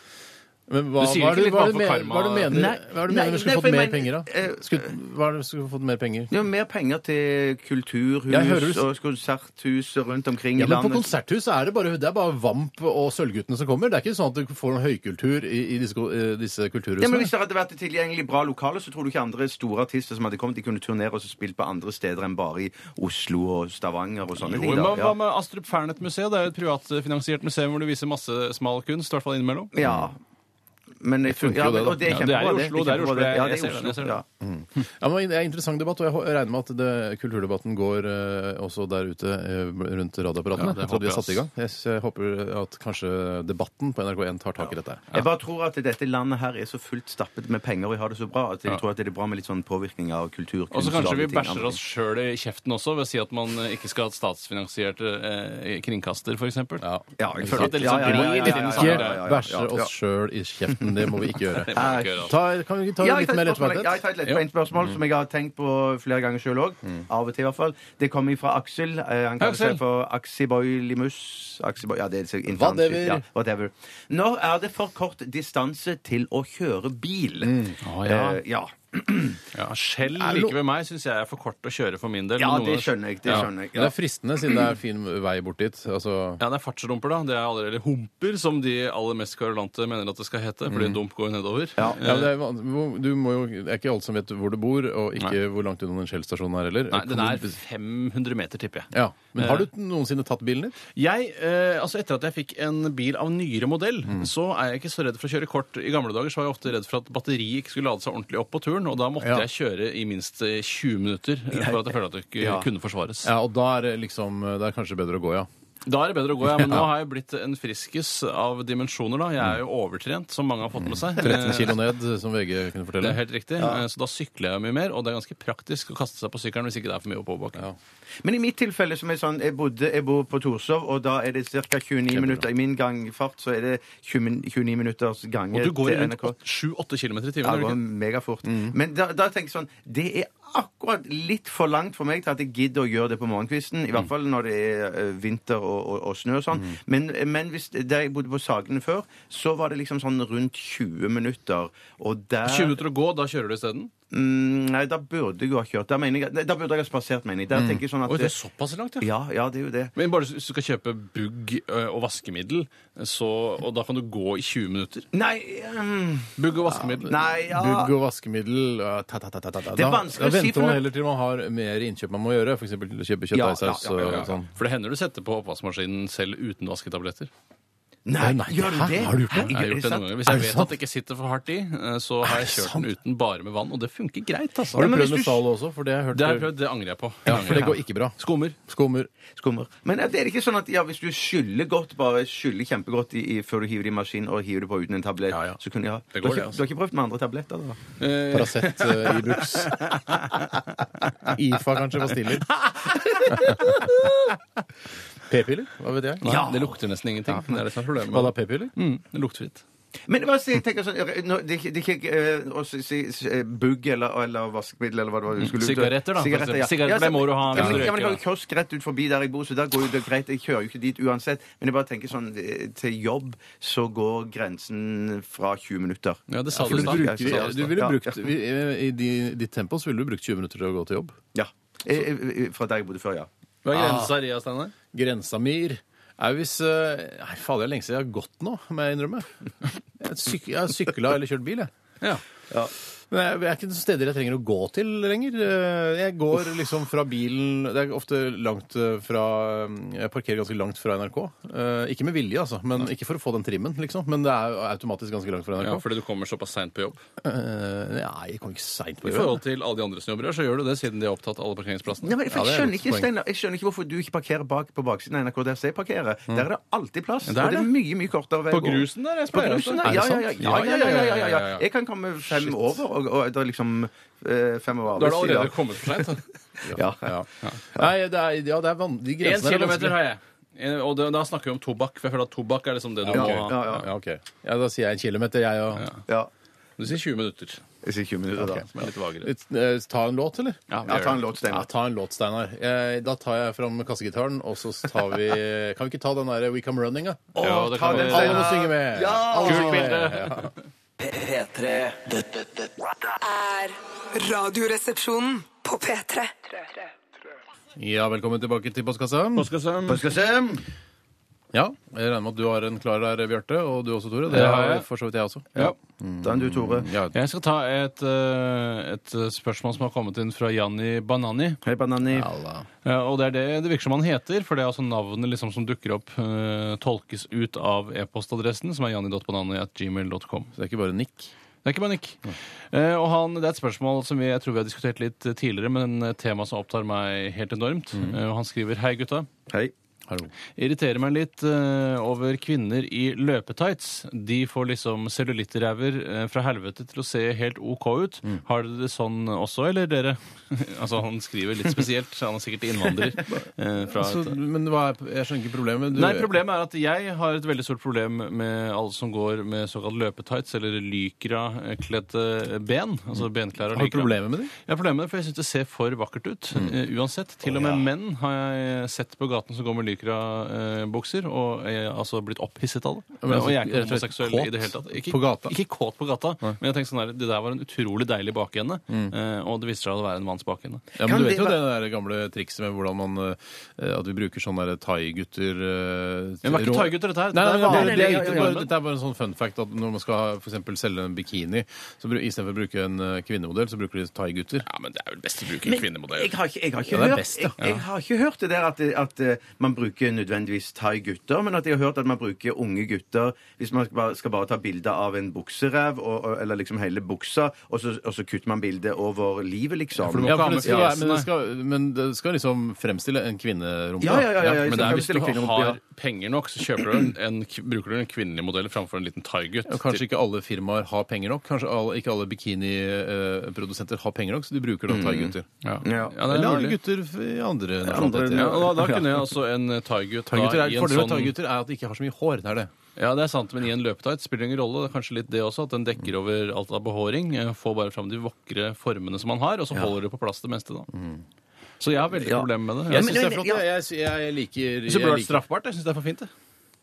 Men hva,
Du sier
hva, er
ikke
det-
litt
hva, er det
bare
men-
for karma.
hva er det du mener, hva
Nei,
er det du mener
nei,
vi skulle
nei, for
fått mer
jeg
penger
mener-
av?
eh,
Skulle, hva er det vi skulle fått mer penger?
Jo, mer penger til
Jeg hører
kulturhus
du-
og konserthus rundt omkring
Ja, men
i
På
landet.
konserthus er det bare, det er bare Vamp og Sølvguttene som kommer. Det er ikke sånn at du får noen høykultur i, i disse, ko- eh, disse
Ja,
kulturhusene.
men Hvis det hadde vært tilgjengelig bra lokaler, så tror du ikke andre store artister som hadde kommet, de kunne turnere og så spilt på andre steder enn bare i Oslo og Stavanger og sånne ting.
Jo,
da.
men
Ja.
Hva med Astrup Fernet-museet? Det er jo et privatfinansiert museum hvor du viser masse smal kunst. I hvert fall innimellom.
Ja. Men jeg tror,
funker
ja,
jo det,
men-
da.
og det er
Ja, det er i
kjempebra, det.
Oslo, det er i Oslo.
kjempebra, det.
Jeg
Ja, det
ser
er i
den, jeg ser
Oslo.
den.
Ja.
Ja, men Det er en interessant debatt, og jeg hå- regner med at det, kulturdebatten går eh, også der ute eh, rundt radioapparatene.
Ja, det
etter at de har
håper
satt i
jeg,
gang. Jeg, s- jeg håper at kanskje debatten på NRK1 tar tak i dette. her.
Jeg bare tror at dette landet her er så fullt stappet med penger, og vi har det så bra, at jeg tror at det er bra med litt sånn påvirkning av kultur.
Og så
kunst
kanskje vi
alle ting,
bæsjer
andre
oss sjøl i kjeften også ved å si at man eh, ikke skal ha et statsfinansiert eh, kringkaster, f.eks.
Ja.
ting. Ja, jeg
føler at det liksom
ja, ja, ja,
blir litt
ja, ja, ja, ja,
Ikke
ja, ja, ja.
bæsje
Ja.
oss sjøl i kjeften. Det må vi ikke gjøre.
må vi ikke altså. gjøre.
Ta, kan vi ikke ta
Ja, jeg
litt
tar
mer
et spørsmål, ja, jeg
lettbeinthet?
tar et
Mm.
lettbeint spørsmål som jeg har tenkt på flere ganger sjøl òg. Av og til, i hvert fall. Det kommer fra Aksel. Eh, Han kaller
Aksel.
seg for Axiboy Limus. Axiboy, ja, det er så internt-
Whatever.
Ja, whatever. Når er det for kort distanse til å kjøre bil?
Mm. Å, ja.
Eh, ja.
Ja, Skjell
Er det
like
no-
ved meg syns jeg er for kort å kjøre for min del.
ja,
men noen
det
ganger-
skjønner jeg. Det
Ja.
skjønner jeg.
Men Det er fristende, siden det er fin vei bort dit. Altså,
Ja, det er fartsrumper, da. Det er allerede eller humper, som de aller mest kverulante mener at det skal hete. Fordi en dump går jo nedover.
Mm. Ja.
Eh,
ja, men det, er, van- hvor- du må jo, det er ikke alle som vet hvor du bor, og ikke hvor langt unna den Shell-stasjonen er heller.
Nei, den
Kan
er Eh.
du-
500 meter, tipper jeg.
ja. Men har du noensinne tatt bilen din?
Jeg, eh, altså Etter at jeg fikk en bil av nyere modell, så er jeg ikke så redd for å kjøre kort. I gamle dager så var jeg ofte redd for at batteriet ikke skulle lade seg ordentlig opp på turen, og da måtte
Ja.
jeg kjøre i minst eh, 20 minutter eh, for at jeg følte at det ikke
Ja.
kunne forsvares.
Ja, og da er det liksom, det er kanskje bedre å gå, ja.
Da er det bedre å gå, ja. Men nå har jeg blitt en friskis av dimensjoner, da. Jeg er jo overtrent, som mange har fått med seg.
13 Mm. kilo ned, som VG kunne
Eh. Det er
fortelle.
helt riktig. Eh, Så da sykler jeg mye mer, og det er ganske praktisk å kaste seg på sykkelen hvis ikke det er for mye oppoverbakke.
Men i mitt tilfelle som er sånn, jeg, bodde, jeg bor på Torshov, og da er det ca. 29 minutter. I min gangfart så er det 20, 29 minutters gange
Og du går i
til
rundt
NRK.
7-8 km i timen.
eh, Ja,
gjør du Mm.
det går
ikke?
megafort. Men da, da tenker jeg sånn Det er akkurat litt for langt for meg til at jeg gidder å gjøre det på morgenkvisten. I
Mm.
hvert fall når det er eh, vinter og, og, og snø og sånn. Men, men hvis, der jeg bodde på Sagene før, så var det liksom sånn rundt 20 minutter. Og der
20 minutter å gå, da kjører du isteden?
Mm, Nei, da burde jeg jo ha kjørt. Da, mener jeg, nei, da burde jeg ha spasert, mener jeg. Der tenker jeg sånn at
Mm. Oi, det er såpass langt, ja.
ja, ja, det er jo det.
Men bare hvis du skal kjøpe bugg ø, og vaskemiddel, så, og da kan du gå i 20 minutter?
Nei mm,
Bugg og vaskemiddel?
Nei, ja
Bugg og vaskemiddel eh, ta, ta, ta, ta, ta, ta.
Det
Da-
er vanskelig
Da
å si, for
venter man
nå-
heller til man har mer innkjøp man må gjøre, f.eks. kjøpe
Ja,
kjøttdeigsaus
ja, ja, ja, ja.
og sånn.
For det hender du setter på oppvaskmaskinen selv uten vasketabletter.
Nei,
Nei,
gjør du
hæ?
det?
Har du gjort det?
Jeg
Gjør
har gjort
du
det noen
sant?
ganger. Hvis
Er
jeg
det
vet
sant?
at det ikke sitter for hardt i, ø, så har jeg kjørt den uten bare med vann, og det funker greit. altså.
Har du
Ja, men
prøvd
hvis
med
du-
Zalo også? For det har jeg hørt
Det har jeg prøvd, det angrer jeg på.
Ja, for det går ikke bra.
Skummer.
Skummer.
Skummer. Men er det ikke sånn at ja, hvis du skyller godt, bare skyller kjempegodt i, i, før du hiver det i maskinen og hiver det på uten en tablett,
Ja, ja.
så kunne jeg ha
Det går, det,
du, har ikke,
altså.
du har ikke prøvd med andre tabletter, da?
Paracet eh, Ibux. IFA kanskje pastiller. P-piller? Hva vet jeg?
Nei, Det lukter nesten ingenting. Det er det som er problemet.
Hva da, p-piller?
Mm, det lukter litt.
Men hva sier- jeg tenker sånn, nå, det, er ikke- det er ikke eh, å si, si, si eh, bugg eller, eller vaskemiddel eller hva det var du skulle ut-
Mm, Sigaretter, da, for eksempel.
ja.
Sigaretter,
Ja,
det må du ha hvis
Ja, men,
du
ja, men jeg har jo
røyker,
kiosk rett ut forbi der jeg bor, så der går jo det greit. Jeg kjører jo ikke dit uansett. Men jeg bare tenker sånn eh, Til jobb så går grensen fra 20 minutter.
Ja, det sa
Ja,
du
for
i
Du,
da.
stad.
Ja,
bruker, du ville
ja.
brukt, eh, I di- ditt tempo så ville du brukt 20 minutter til å gå til jobb.
Ja. Eh, eh, Fra der jeg bodde før, ja.
Hva er
Ah.
grensa di, Steinar?
Grensa mir er jo hvis eh, Nei, fader, det er lenge siden jeg har gått nå, må jeg innrømme. Jeg, syk, jeg har sykla eller kjørt bil, jeg.
Ja.
Men jeg, jeg er ikke noen steder jeg trenger å gå til lenger. Eh, Jeg går liksom fra bilen Det er ofte langt eh, fra Jeg parkerer ganske langt fra NRK. Eh, Ikke med vilje, altså. Men ikke for å få den trimmen, liksom. Men det er jo automatisk ganske langt fra
ja,
NRK.
fordi du kommer såpass seint på jobb.
Eh, Nei, jeg kom ikke seint på
I forhold til alle de andre som jobber her, så gjør du det siden de er opptatt av alle parkeringsplassene.
Nei, men
Ja, det er
for jeg,
et godt
skjønner ikke,
poeng.
Steinar, jeg skjønner ikke hvorfor du ikke parkerer bak på baksiden av NRK der jeg parkerer.
Mm.
Der er det alltid plass.
det er
og det er
det.
mye mye kortere vei.
På
å gå.
grusen der, jeg
På
pleier
grusen,
Er
altså.
sånn ja, ja,
det
ja,
sant?
ja, ja, ja, ja, ja,
ja, ja.
ja. Jeg kan komme fem over, og, og det er liksom eh, fem over
Da har du allerede
arbeidstid.
kommet for seint.
Ja.
Ja. Nei, det er, ja, det er van, de
Én
grensene er
kilometer
vanskelige.
har jeg. En- Og da, da snakker vi om tobakk, for jeg føler at tobakk er liksom det du
Ja,
må
ja,
ha.
ja, ja.
Ja, OK. Ja, da sier jeg en kilometer, jeg og
ja.
Du sier 20 minutter, som
Jeg sier 20 minutter, da.
er litt vagere.
Litt, eh, Ta en låt, eller?
Ja, vi
Ja,
gjør
ta en
det.
låt, Steinar.
Ja, ta en låt, Steinar. Eh, Da tar jeg fram kassegitaren, og så tar vi Kan vi ikke ta den derre We Come Running, da?
Ja, det
ta
kan
den,
vi-
Steinar.
Alle må synge med! Alle må synge med. Ja.
P3. Dette, dette
er Radioresepsjonen på P3.
ja, velkommen tilbake til postkassa.
Påskesøm.
Skal vi se.
Ja, jeg regner med at du har en klar der, Bjarte, og du også, Tore. Det
Ja,
har
ja.
for så vidt jeg også.
Ja.
Da er du, Tore.
Ja.
Jeg skal ta et, eh, et spørsmål som har kommet inn fra Janni Banani.
Hei, Banani.
Allah.
Ja, og det er det det virker som han heter, for det er altså navnet liksom som dukker opp, eh, tolkes ut av e-postadressen, som er janni.banani.gmail.com.
Så det er ikke bare nikk.
Det er ikke panikk. Eh, og han, det er et spørsmål som vi, jeg tror vi har diskutert litt tidligere, men et tema som opptar meg helt enormt. Eh, og han skriver Hei, gutta.
Hei.
Hallo.
Irriterer meg litt eh, over kvinner i løpetights. De får liksom cellulittræver eh, fra helvete til å se helt OK ut. Har dere det sånn også, eller dere? altså, han skriver litt spesielt. så Han er sikkert innvandrer. eh, fra
Så,
et,
men hva er, jeg skjønner ikke problemet. Du,
Nei, problemet er at jeg har et veldig stort problem med alle som går med såkalt løpetights eller lykra-kledte ben. Altså benklær og
Har du
lykra.
problemer Mm. med det?
Jeg har problemer med det, for jeg syns det ser for vakkert ut. eh, uansett. Til og med menn har jeg sett på gaten som går med lykra-bukser, og jeg har altså blitt opphisset av det.
Men altså,
og jeg
rett
er ikke
og slett
homoseksuell
kåt
i det hele tatt. Ikke,
på gata?
Ikke kåt på gata, men jeg tenkte sånn der, det der var en utrolig deilig bakende, eh, og det viste seg å være en manns bakende.
Mm. Ja,
Kan
men Du
det
vet jo det
være-
der gamle trikset med hvordan man eh, At vi bruker sånne der thai-gutter eh,
Men det er
rå-
ikke thai-gutter, dette her.
Nei, nei,
Det er
nei, det er
vanlig- ja,
ikke
ja, ja.
bare- Dette er bare en sånn fun fact at når man skal for eksempel selge en bikini, så bru- istedenfor å bruke en eh, kvinnemodell, så bruker de thai-gutter.
Ja, men det er vel best å bruke
Men
en kvinnemodell.
Jeg har ikke, jeg har ikke
Ja, det er
hørt,
best, ja.
jeg, jeg har ikke hørt det der at, at eh, man bruker nødvendigvis thai-gutter, men at jeg har hørt at man bruker unge gutter hvis man skal bare, skal bare ta bilde av en bukserev, og, og, eller liksom hele buksa, og så, og så kutter man bildet over livet, liksom.
du må
Ja,
ikke
for
ha
det
med
skal, være-
fjesen,
men, det
nei.
skal, men det skal liksom fremstille en kvinnerumpe.
Ja, ja, ja, ja, ja,
men det
skal
er hvis du
fremstille kvinnerumpe, ja.
har penger nok, så kjøper du en, en, bruker du en kvinnelig modell framfor en liten thaigutt.
Og Kanskje ikke alle firmaer har penger nok. Kanskje alle, ikke alle bikiniprodusenter har penger nok, så de bruker da thai-gutter.
Mm. Ja.
Ja.
Ja, det er
Eller
mulig.
gutter f- i andre
andre-
nasjonaliteter.
Ja, og da, da kunne jeg altså en thaigutt da
Thai-gutter er,
i
fordelen
en
med
sånn
thai-gutter er at de ikke har så mye hår. Det er det.
Ja, det er sant, men i en løpetight spiller det ingen rolle. Det er kanskje litt det også, at den dekker over alt av behåring. eh, Får bare fram de vakre formene som man har, og så holder det på plass det meste, da. Så jeg har veldig problemer med det.
Jeg
Jeg
men-
syns det er flott.
ja.
Jeg, jeg, jeg liker jeg
syns det burde vært
liker-
straffbart. Jeg syns det er for fint, det.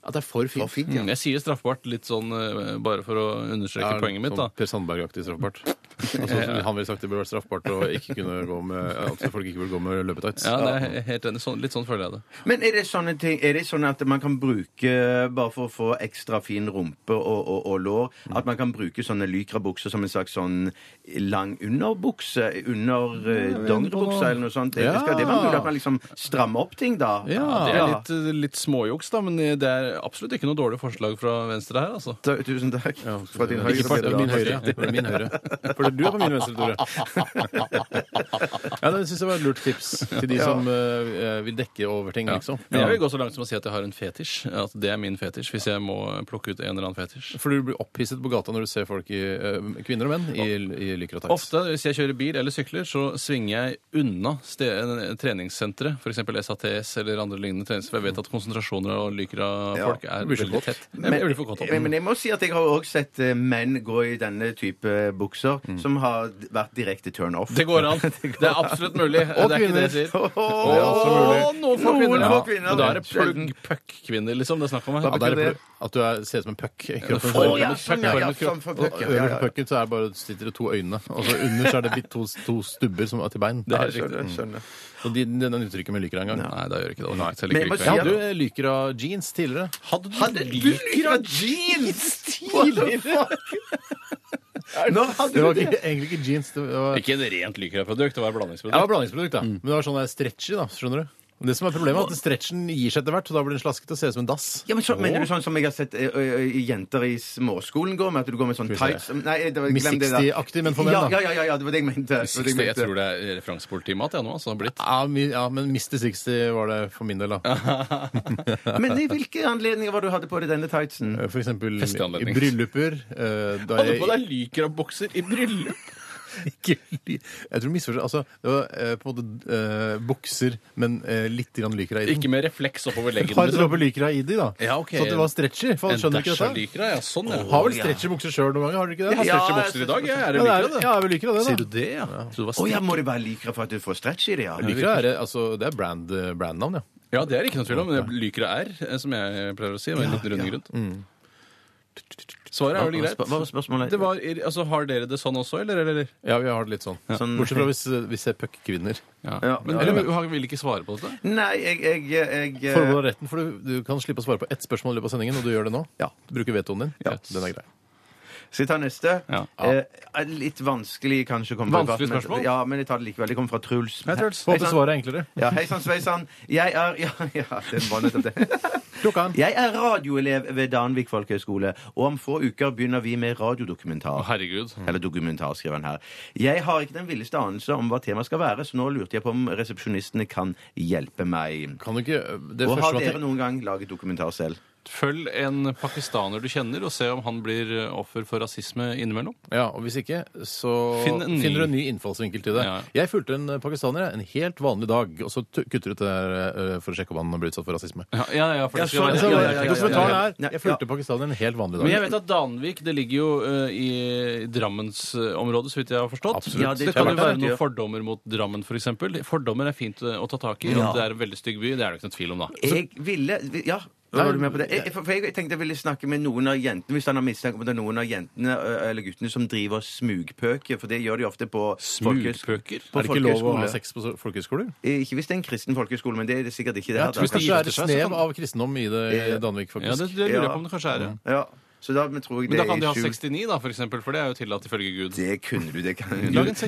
At det er for fint.
fint,
Mm, Jeg sier straffbart litt sånn eh, bare for å understreke
Ja,
poenget mitt,
sånn
da.
Per Sandberg-aktig straffbart. Altså, han ville sagt det burde vært straffbart å ikke kunne gå med at folk ikke burde gå med løpetights.
Ja, det er jeg helt enig. Sånn, litt sånn føler jeg det.
Men er det sånne ting Er det sånn at man kan bruke Bare for å få ekstra fin rumpe og, og, og lår At man kan bruke sånne lykrabukser som en slags sånn lang underbukse Under uh, dongeribuksa eller noe sånt
Ja.
Skal det være mulig at man liksom strammer opp ting da?
Ja,
Det er litt, eh, litt småjuks, da, men det er absolutt ikke noe dårlig forslag fra venstre her, altså.
Tusen takk fra din
Ikke
høyre
part-
side, da.
min høyre. ja. Min høyre.
For
føler du er på min venstre, Tore? ja, det syns jeg var et lurt tips til de som eh, vil dekke over ting, liksom.
Men jeg vil gå så langt som å si at jeg har en fetisj. At det er min fetisj, hvis jeg må plukke ut en eller annen fetisj.
For du blir opphisset på gata når du ser folk i, eh, kvinner og menn i, i lykker og tights.
Ofte hvis jeg kjører bil eller sykler, så svinger jeg unna ste- eh, treningssentre, f.eks. SATS eller andre lignende treningssentre. for Jeg vet at konsentrasjoner og lyker av
Ja.
folk er
blir så
veldig
kåt.
tett. Jeg blir for kåt av
men, men
det.
jeg må si at jeg har òg sett eh, menn gå i denne type bukser, som har d- vært direkte turn off.
Det går an. Det er absolutt mulig.
Og
det er ikke det jeg sier.
Åh,
Åh, noen få kvinner.
Noen få
Ja.
kvinner.
Men da er det plugg puck-kvinner, liksom. Det er snakk om her.
Ja, det er
det-
At du er, ser ut som en puck. i kroppen.
får
Å, ja, sånn, ja, ja, sånn, for
Og
puck, ja, ja,
Øverst
ja.
på pucken så er det bare, sitter det to øyne, og så under så er det bitt- to, to stubber som er til bein.
Det er
Jeg
Mm.
skjønner, jeg skjønner.
Og de, den nytter ikke med lyker engang.
Nei, da gjør jeg ikke det. Nei,
Men jeg må
ikke
Jeg
det.
si at-
hadde jo lyker av jeans tidligere.
Hadde du
Hadde du lykker av jeans tidligere? Når
Det
hadde
var
du det?
ikke, egentlig ikke jeans. Det var,
Ikke en rent lykraprodukt, det var et
det var
blandingsprodukt.
blandingsprodukt,
Mm.
da. Men det var sånn der stretchy, da. Skjønner du? Men Det som er Problemet er at stretchen gir seg etter hvert, og da blir den slaskete og ser ut som en dass.
Ja, men så, Mener du sånn som jeg har sett ø, ø, ø, jenter i småskolen gå med? At du går med sånn
Skal vi
tights
se.
Nei, det var-
Miss
glem det der.
60-aktig, men for menn, da.
Ja, ja, ja, ja, det var det jeg mente. Det var det jeg
Jeg
mente.
tror det er referansepolitimat, jeg nå. altså, har blitt.
Ja, mi- ja, men Mr. 60 var det for min del, da.
Men i hvilke anledninger var det du hadde på deg denne tightsen?
For eksempel i
Festeanledning.
brylluper. eh, Da
Hadde
jeg,
på deg lykrabokser i bryllup!
ikke, jeg tror du misforstår. Altså, det var eh, på en måte eh, bukser, men eh, litt grann lykra i den.
Ikke med refleks oppover leggen.
Har et dråpe lykra i de, da.
Ja, ok.
Så at det var stretchy. For
En
skjønner du ikke
dash av
dette?
lykra, ja. Sånn, ja.
Har vel stretchy bukser sjøl noen ganger? Har dere ikke det?
Jeg har stretchebokser i dag, jeg. Er
Ja, det
det lykra,
er,
det?
ja, jeg vil lykke det, da.
Sier du det, ja? Jeg trodde det var
Å ja,
strikk.
må det være lykra for at du får stretch i det, ja?
Lykra er, altså, det er brand, brandnavn, ja.
Ja, det er ikke noe tvil om. men Lykra er, eh, som jeg pleier å si, med en liten runding rundt. Svaret er vel
Hva-
greit.
hva var spørsmålet?
Det var, altså, har dere det sånn også, eller? eller?
Ja, vi har det litt sånn.
Sånn-
Bortsett fra hvis eh, vi ser puckkvinner.
Ja,
Men
ja,
du
ja.
har- vil ikke svare på dette?
Nei, jeg, jeg, jeg, eh, jeg
Forbehold deg retten, for du, du kan slippe å svare på ett spørsmål i løpet av sendingen, og du gjør det nå.
Ja.
Du bruker vetoen din.
Ja.
Den er grei.
Skal jeg ta neste?
Ja.
Eh, litt vanskelig kanskje å komme på
Vanskelig
i farten, men-
spørsmål?
Ja, men jeg tar det likevel. Det kommer fra Truls.
Hei, Truls.
Hei
Håper
sann,
svaret er enklere.
ja, hei sann, sveisann. Jeg er Ja, ja det var nettopp det.
Klokka er
Jeg er radioelev ved Danvik folkehøgskole, og om få uker begynner vi med radiodokumentar.
Å, herregud.
Eller dokumentar, skriver han her. Jeg har ikke den villeste anelse om hva temaet skal være, så nå lurte jeg på om resepsjonistene kan hjelpe meg.
Kan du ikke eh, Det
Og har
første
dere noen gang laget dokumentar selv?
Følg en pakistaner du kjenner, og se om han blir offer for rasisme innimellom.
Ja, og hvis ikke, så
Finn en ny.
finner du en ny innfallsvinkel til det.
Ja.
Jeg fulgte en eh, pakistaner jeg, en helt vanlig dag, og så t- kutter du ut det der eh, for å sjekke om han ble utsatt for rasisme.
Ja, ja, ja, for det skal
sånn,
være-
Så
ja, ja, ja, ja, ja.
Dokumentaren
Ja,
er
ja.
Jeg fulgte pakistaneren en helt vanlig dag.
Men jeg vet at Danvik det ligger jo eh, i Drammensområdet, så vidt jeg har forstått.
Absolutt.
Ja,
det,
det
kan jo
tror jeg
være
det
noen
gjør.
fordommer mot Drammen, f.eks. Fordommer er fint eh, å ta tak i. At det er en veldig stygg by, det er det ikke noe tvil om, da.
Jeg ville Ja. Var du med på det? Jeg, for for jeg tenkte jeg ville snakke med noen av jentene hvis han har mistanke om at det er noen av jentene ø, eller guttene som driver smugpøker, for det gjør de ofte på folkehøys-
Smugpøker?
på
er det ikke lov å
folkehøyskole.
ha sex på so- folkehøyskoler?
Eh, Ikke hvis det er en kristen folkehøyskole, men det er det sikkert ikke. det
Jeg
her, da.
tror kanskje det er et
kanskje det er
snev av kristendom i det i
Ja.
Danvik,
Ja, det,
faktisk.
det lurer jeg
Ja.
på om det kanskje er. Ja.
Ja, så da tror jeg det
Men da kan de
er
ha
i skjul.
69, da, for eksempel, for det er jo tillatt ifølge Gud.
Det kunne du, det kan
Lag en
Gud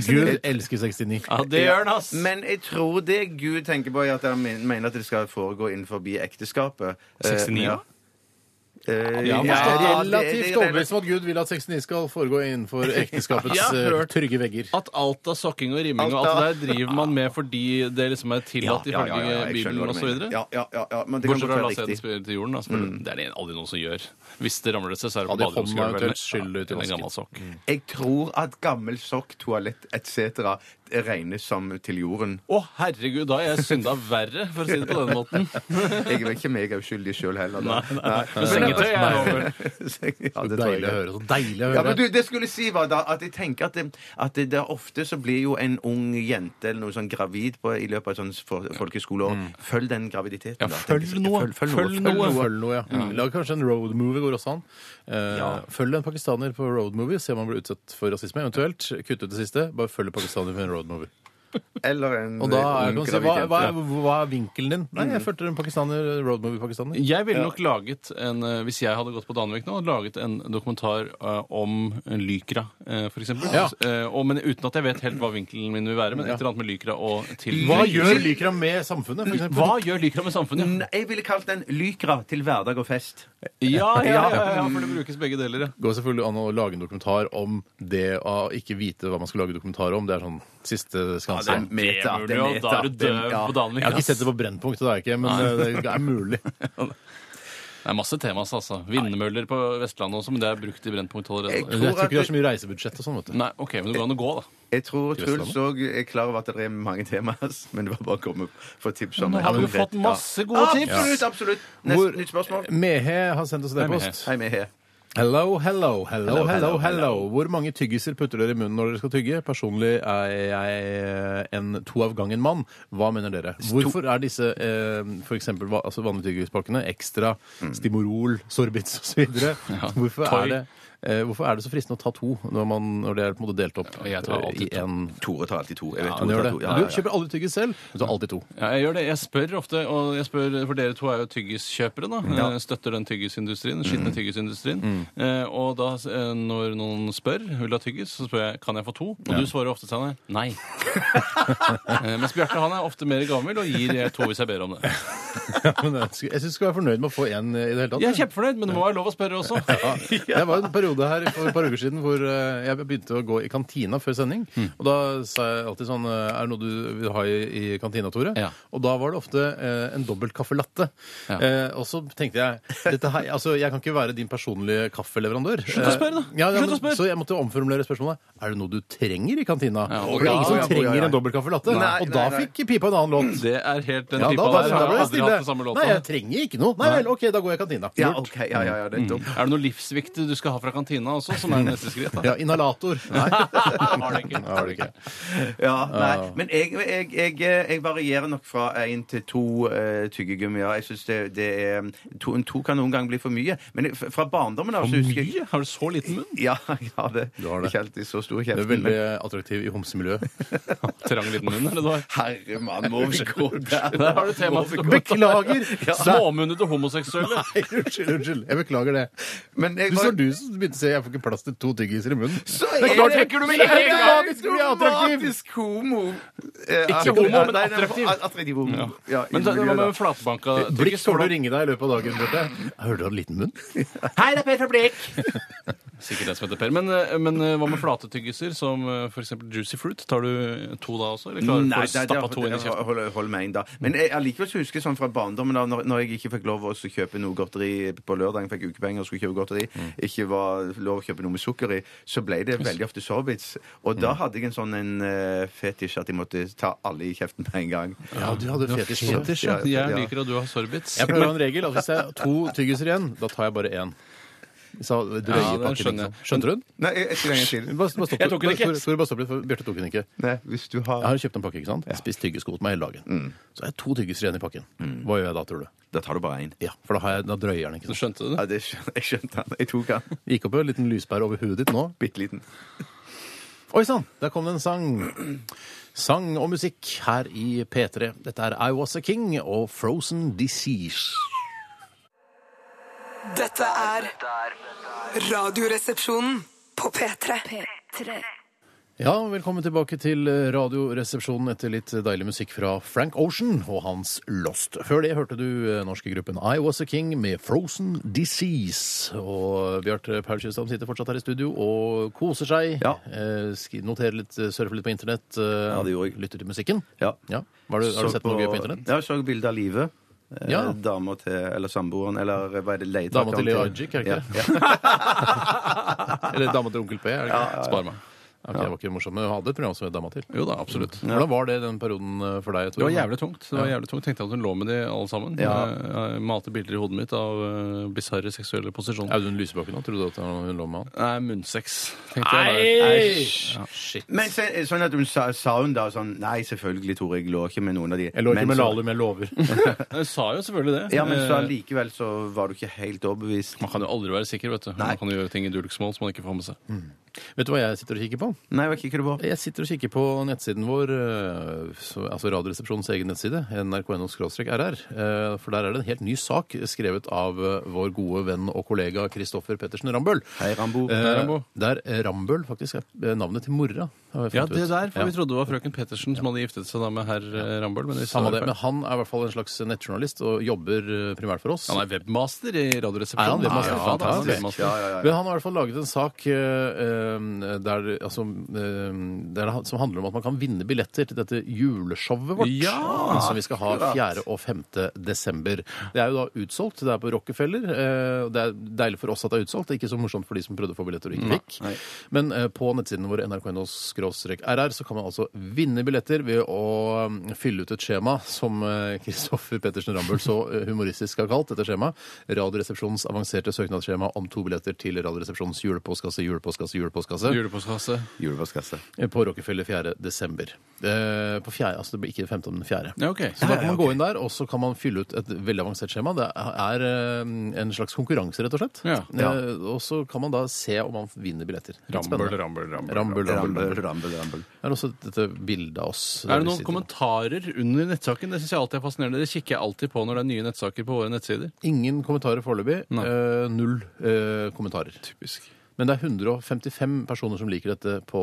69.
elsker 69.
Ja, det gjør han, ass!
Men jeg tror det Gud tenker på, er at han men- mener at det skal foregå innenfor ekteskapet. Eh,
69,
ja.
da?
Eh,
Ja, men
Jeg er
ja, det- det-
relativt
det-
overbevist om at Gud vil at 69 skal foregå innenfor ekteskapets
Ja,
eh,
hørt.
trygge vegger.
At alt av sokking og rimming og alt
Alt av-
det der driver man med fordi det liksom er tillatt
Ja, ja,
ifølge
ja, ja, jeg skjønner
Bibelen
hva du
og så
mener.
videre?
Ja, ja, ja, ja, men det kan
Bortsett
godt
fra å
være
la sæden
riktig.
spille til jorden, da.
Mm.
selvfølgelig. Det er det aldri noen som gjør. Hvis det ramler seg, så er det
Ja,
på
de hånda
baderomsgulvet.
eventuelt skyller ut i
eller en
vasken.
gammel sokk.
Jeg tror at gammel sokk, toalett etc. regnes som til jorden.
Å, herregud, da har jeg synda verre, for å si det på denne måten.
Jeg er ikke meg uskyldig sjøl heller. Da.
Men sengetøy er over.
Ja, det tror
Deilig
jeg det.
å høre. Så deilig å
Ja, men
høre.
du, det skulle si var da at jeg tenker at det, at det, det er ofte så blir jo en ung jente eller noe sånn gravid på, i løpet av et sånt for, folkeskoleår. Følg den graviditeten.
Ja,
da,
følg
tenker jeg.
noe.
Følg, følg,
Følg
noe.
noe.
Følg noe.
Følg noe, ja. Lag kanskje en road movie går også an. Eh,
Ja.
Følg en pakistaner på road movie, se om han blir utsatt for rasisme. Eventuelt kutt ut det siste, bare følg en pakistaner på en road movie.
Eller en
Og da er,
eh,
kan man
ung
si, hva, hva,
gravid jente. Mm.
er, hva er vinkelen din? Nei, jeg følte en pakistaner, roadmovie-pakistaner.
Jeg ville nok laget en eh, Hvis jeg hadde gått på Danvik nå, laget en dokumentar eh, om Lykra, eh, for eksempel.
Ja.
Eh, og, men uten at jeg vet helt hva vinkelen min vil være. Men et eller annet med Lykra og til
Hva gjør Lykra med samfunnet? For eksempel?
Hva gjør Lykra med samfunnet?
Nei, Jeg ville kalt den Lykra til hverdag og fest.
Ja, ja, ja, ja, ja, for det brukes begge deler, ja.
Det går selvfølgelig an å lage en dokumentar om det å ikke vite hva man skal lage dokumentar om. Det er sånn siste skanse.
det- Meta,
Det burde
det er
jo-
meta,
Da er du
det er-
døv
ja.
på Danvik.
jeg har ikke
ass.
sett det på Brennpunkt, det har jeg ikke, men eh, det er mulig.
Det er masse temas, altså. Vindmøller på Vestlandet også, men det er brukt i Brennpunkt
Jeg
Jeg
allerede.
tror
tror ikke
at
det er så mye reisebudsjett og sånn, vet du.
Nei, OK, men det går an å gå, da.
Jeg tror
Til Vestlandet?
Truls òg er klar over at det er mange temaer, men det var bare å komme for tips om
Nå har vi jo fått masse
Ah,
gode tips! Mm.
Absolutt! absolutt. Neste,
Hvor-
Nytt spørsmål.
Mehe har sendt oss en
Hei, Mehe.
e-post.
Hei, vi er her.
Hello, hello, hello,
Hello,
hello,
hello,
hello. Hvor mange tyggiser putter dere i munnen når dere skal tygge? Personlig er jeg eh, en to av gangen mann. Hva mener dere? Hvorfor er disse eh, for eksempel, va- altså vanlige tyggispakkene ekstra Stimorol, Sorbitz osv.? Hvorfor,
Toy.
er det- eh, hvorfor er det så fristende å ta to når, man, når det er på en måte delt opp
Ja, jeg tar
eh,
alltid
i en
Mm. Tore tar alltid to. Jeg vet,
ja,
Tore
du, gjør
tar
det.
to. Ja, ja,
du
ja.
kjøper aldri tyggis selv, men du tar alltid to.
Ja, jeg gjør det. Jeg spør ofte, og jeg spør, for dere to er jo tyggiskjøpere, da. Eh, Støtter den tyggisindustrien, den
Mm.
skitne tyggisindustrien. Eh, og da, eh, når noen spør, vil du ha tyggis, så spør jeg, kan jeg få to? Og du svarer ofte, Steinar, nei. eh, mens Bjarte, han er ofte mer gavmild og gir jeg to hvis jeg ber om det.
Ja, men jeg syns du skal være fornøyd med å få én i det hele tatt.
Jeg er kjempefornøyd, men det må være lov å spørre også.
Det var en periode her for et par uker siden hvor eh, jeg begynte å gå i kantina før sending.
Mm.
Og da sa jeg alltid sånn eh, Er det noe du vil ha i, i kantina, Tore?
Ja.
Og da var det ofte eh, en dobbelt caffè latte.
Ja.
Eh, og så tenkte jeg dette her, altså, Jeg kan ikke være din personlige kaffeleverandør.
Slutt å
Eh,
spørre, da.
Ja, ja,
Slutt
men,
å spørre.
Så jeg måtte omformulere spørsmålet. Er det noe du trenger i kantina?
Ja,
For det er
ja,
ingen som
ja, ja,
trenger
ja.
en dobbelt caffè latte.
Nei,
og da
nei, nei.
fikk pipa en annen låt.
Det er helt den
Ja, da,
Mm. pipa
da,
der.
da
Jeg
ble
har
det
aldri hatt den samme
stille. Nei, jeg
låta.
trenger ikke noe. Nei vel, OK, da går jeg i kantina.
Ja, Mm.
Lurt.
ok. Ja, ja, ja, det er dumt.
Er det noe livsviktig du skal ha fra kantina også, som er neste skritt? da?
Ja, inhalator. Nei.
Har det ikke.
Har du ikke.
Ja, nei. Men jeg, jeg, jeg, jeg varierer nok fra én til to uh, tyggegummier. Jeg synes det, det er mm, to, en to kan noen gang bli for mye. Men jeg- fra barndommen av så husker jeg
Mye? Har du så liten munn?
Ja, jeg har det.
Du har det.
Ikke alltid så stor
Du
kjeft.
er veldig attraktiv i homsemiljøet.
Trang liten munn, eller hva?
Herre mann, må vi gå der?
Der har du temaet.
Beklager! Små-
Småmunnete homoseksuelle.
Nei, Unnskyld, unnskyld. Jeg beklager det.
Men jeg
Du
var-
var du som begynte å si 'jeg får ikke plass til to tyggiser i munnen'.
Så
Det er klart jeg-
du med
Jeg er automatisk bli attraktiv.
Automatisk homo.
Ikke homo, men attraktiv.
Attraktiv homo. Ja. i
Men det, det var
miljøet, da.
med flatbanka
Blikk kommer til å ringe deg i løpet av dagen. Bjarte. Hører du hadde liten munn?
Hei, det er Per fra Blikk! Sikkert det som heter Per. Men, eh, men eh, hva med flate tyggiser, som f.eks. Juicy Fruit? Tar du to da også? Eller klarer du å
Nei, det- det-
stappe to inn i kjeften?
Hold, hold meg inn, da. Men jeg allikevel så husker jeg sånn fra barndommen da når, når jeg ikke fikk lov å også kjøpe noe godteri på lørdagen, fikk ukepenger og skulle kjøpe godteri, ikke var lov å kjøpe noe med sukker i, så ble det veldig ofte sorbits. Og da hadde jeg en sånn en eh, fetisj at jeg måtte ta alle i kjeften med en gang.
Ja, du hadde fetisj. på det.
Fetisj, ja.
Ja, ja.
Jeg liker at du har sorbits.
Jeg pleier å ha en regel at hvis jeg har to tyggiser igjen, da tar jeg bare én. Så
Ja,
drøye
det
pakker,
skjønner jeg.
liksom. Skjønte du den?
Nei, jeg, jeg skal en gang til.
Bare- bare stopp
Jeg tok den
litt.
ikke.
Tore- Tore, bare stopp litt, for Bjarte tok den ikke.
Nei, hvis du
Jeg har
har
jo kjøpt en pakke, ikke sant? Spist tyggesko til meg hele dagen. Så har jeg to tyggiser igjen i pakken. Hva gjør jeg da, tror du?
Da tar du bare én.
Mm. Ja, For da, har jeg, da drøyer jeg den, ikke
Du
sant?
skjønte det?
Ja, det skjønte, jeg skjønte han. Jeg tok han.
Gikk opp en liten lyspære over huet ditt nå.
Bitte liten.
Oi sann, der kom det en sang. Sang og musikk her i P3. Dette er I Was A King og Frozen Disease.
Dette er Radioresepsjonen på P3.
Ja, velkommen tilbake til Radioresepsjonen etter litt deilig musikk fra Frank Ocean og hans Lost. Før det hørte du eh, norske gruppen I Was A King med Frozen Disease. Og Bjarte Paul Kjøstheim sitter fortsatt her i studio og koser seg.
Ja.
Eh, skri- Noterer litt, eh, surfer litt på internett. Ja,
det gjorde jeg.
Lytter til musikken.
Ja.
Har, du, har
Så
du sett noe gøy på internett?
Ja, jeg så bilde av Live. Eh,
Ja.
Dama til Eller samboeren, eller eh, hva er det? leietakeren
Dama til Leo Ajik, er det ikke det?
Ja, ja.
Eller dama til onkel P? Er det ikke? det?
Spar meg.
Ok, det var ikke morsomt, men Du hadde et program som het Dama til.
Jo da, absolutt.
Mm.
Hvordan var det den perioden eh, for deg? Tore?
Det var jævlig tungt. Det var jævlig tungt. Tenkte jeg at hun lå med de alle sammen.
Ja.
Jeg malte bilder i hodet mitt av uh, bisarre seksuelle posisjoner.
Audun Lysbakken òg? Trodde du at hun lå med han?
Nei, munnsex. tenkte jeg bare.
Ja, Shit.
Men så, sånn at hun sa, sa hun da sånn Nei, selvfølgelig, Tore, jeg lå ikke med noen av de.
Jeg lå
Men
ikke med
så-
Lahlum, jeg lover.
Hun sa jo selvfølgelig det.
Ja, men så
Eh,
likevel så var du ikke helt overbevist.
Man kan jo aldri være sikker, vet du. Man kan jo gjøre ting i dulksmål som man ikke får med seg.
Vet du hva jeg sitter og kikker på?
Nei, hva kikker du på?
Jeg sitter og kikker på nettsiden vår, eh, så- altså Radioresepsjonens egen nettside, nrk.no-rr, eh, for der er det en helt ny sak skrevet av eh, vår gode venn og kollega Kristoffer Pettersen Rambøll.
Hei, Rambo.
Eh,
Hei, Rambo.
Der eh, Rambøll faktisk er eh, navnet til mora. har jeg funnet
Ja,
ut.
det der, for
Ja.
vi trodde det var frøken Pettersen som hadde giftet seg da med herr eh, Rambøll. Men, vi sa
Samme
det
det,
feil.
men han er i hvert fall en slags nettjournalist og jobber eh, primært for oss.
han er webmaster i Radioresepsjonen.
Er han webmaster?
Ja, da, han er
Fantastisk.
webmaster.
Ja, ja, ja.
Men han har i hvert fall laget en sak eh, eh, der, altså, eh, der, han- som handler om at man kan vinne billetter til dette juleshowet vårt.
Ja,
som vi skal ha 4. og 5. desember. Det er jo da utsolgt. Det er på Rockefeller. eh, og det er deilig for oss at det er utsolgt. Det er ikke så morsomt for de som prøvde å få billetter og ikke fikk. Men eh, på nettsidene våre nrk.no-rr så kan man altså vinne billetter ved å mm, fylle ut et skjema som eh, Kristoffer Pettersen Rambøll så eh, humoristisk har kalt dette skjemaet. Radioresepsjonens avanserte søknadsskjema om to billetter til Radioresepsjonens julepostkasse, julepostkasse, julepostkasse
Julepostkasse.
Julepostkassa.
eh, på Rockefeller 4. desember. Eh, På 4., altså det blir ikke 15., men 4.
Ja, ok.
Så da kan man gå inn der, og så kan man fylle ut et veldig avansert skjema. Det er eh, en slags konkurranse, rett og slett.
Ja.
Eh, Og så kan man da se om man vinner billetter. Litt
Rambøll,
spennende.
Rambøll, Rambøll.
Rambøll, rambøll,
Rambel,
rambøll.
rambel, rambel.
Det er også dette bildet av oss.
Er det noen kommentarer under nettsaken? Det syns jeg alltid er fascinerende. Det kikker jeg alltid på når det er nye nettsaker på våre nettsider.
Ingen kommentarer foreløpig.
Nei.
Eh, null eh, kommentarer. Men det er 155 personer som liker dette på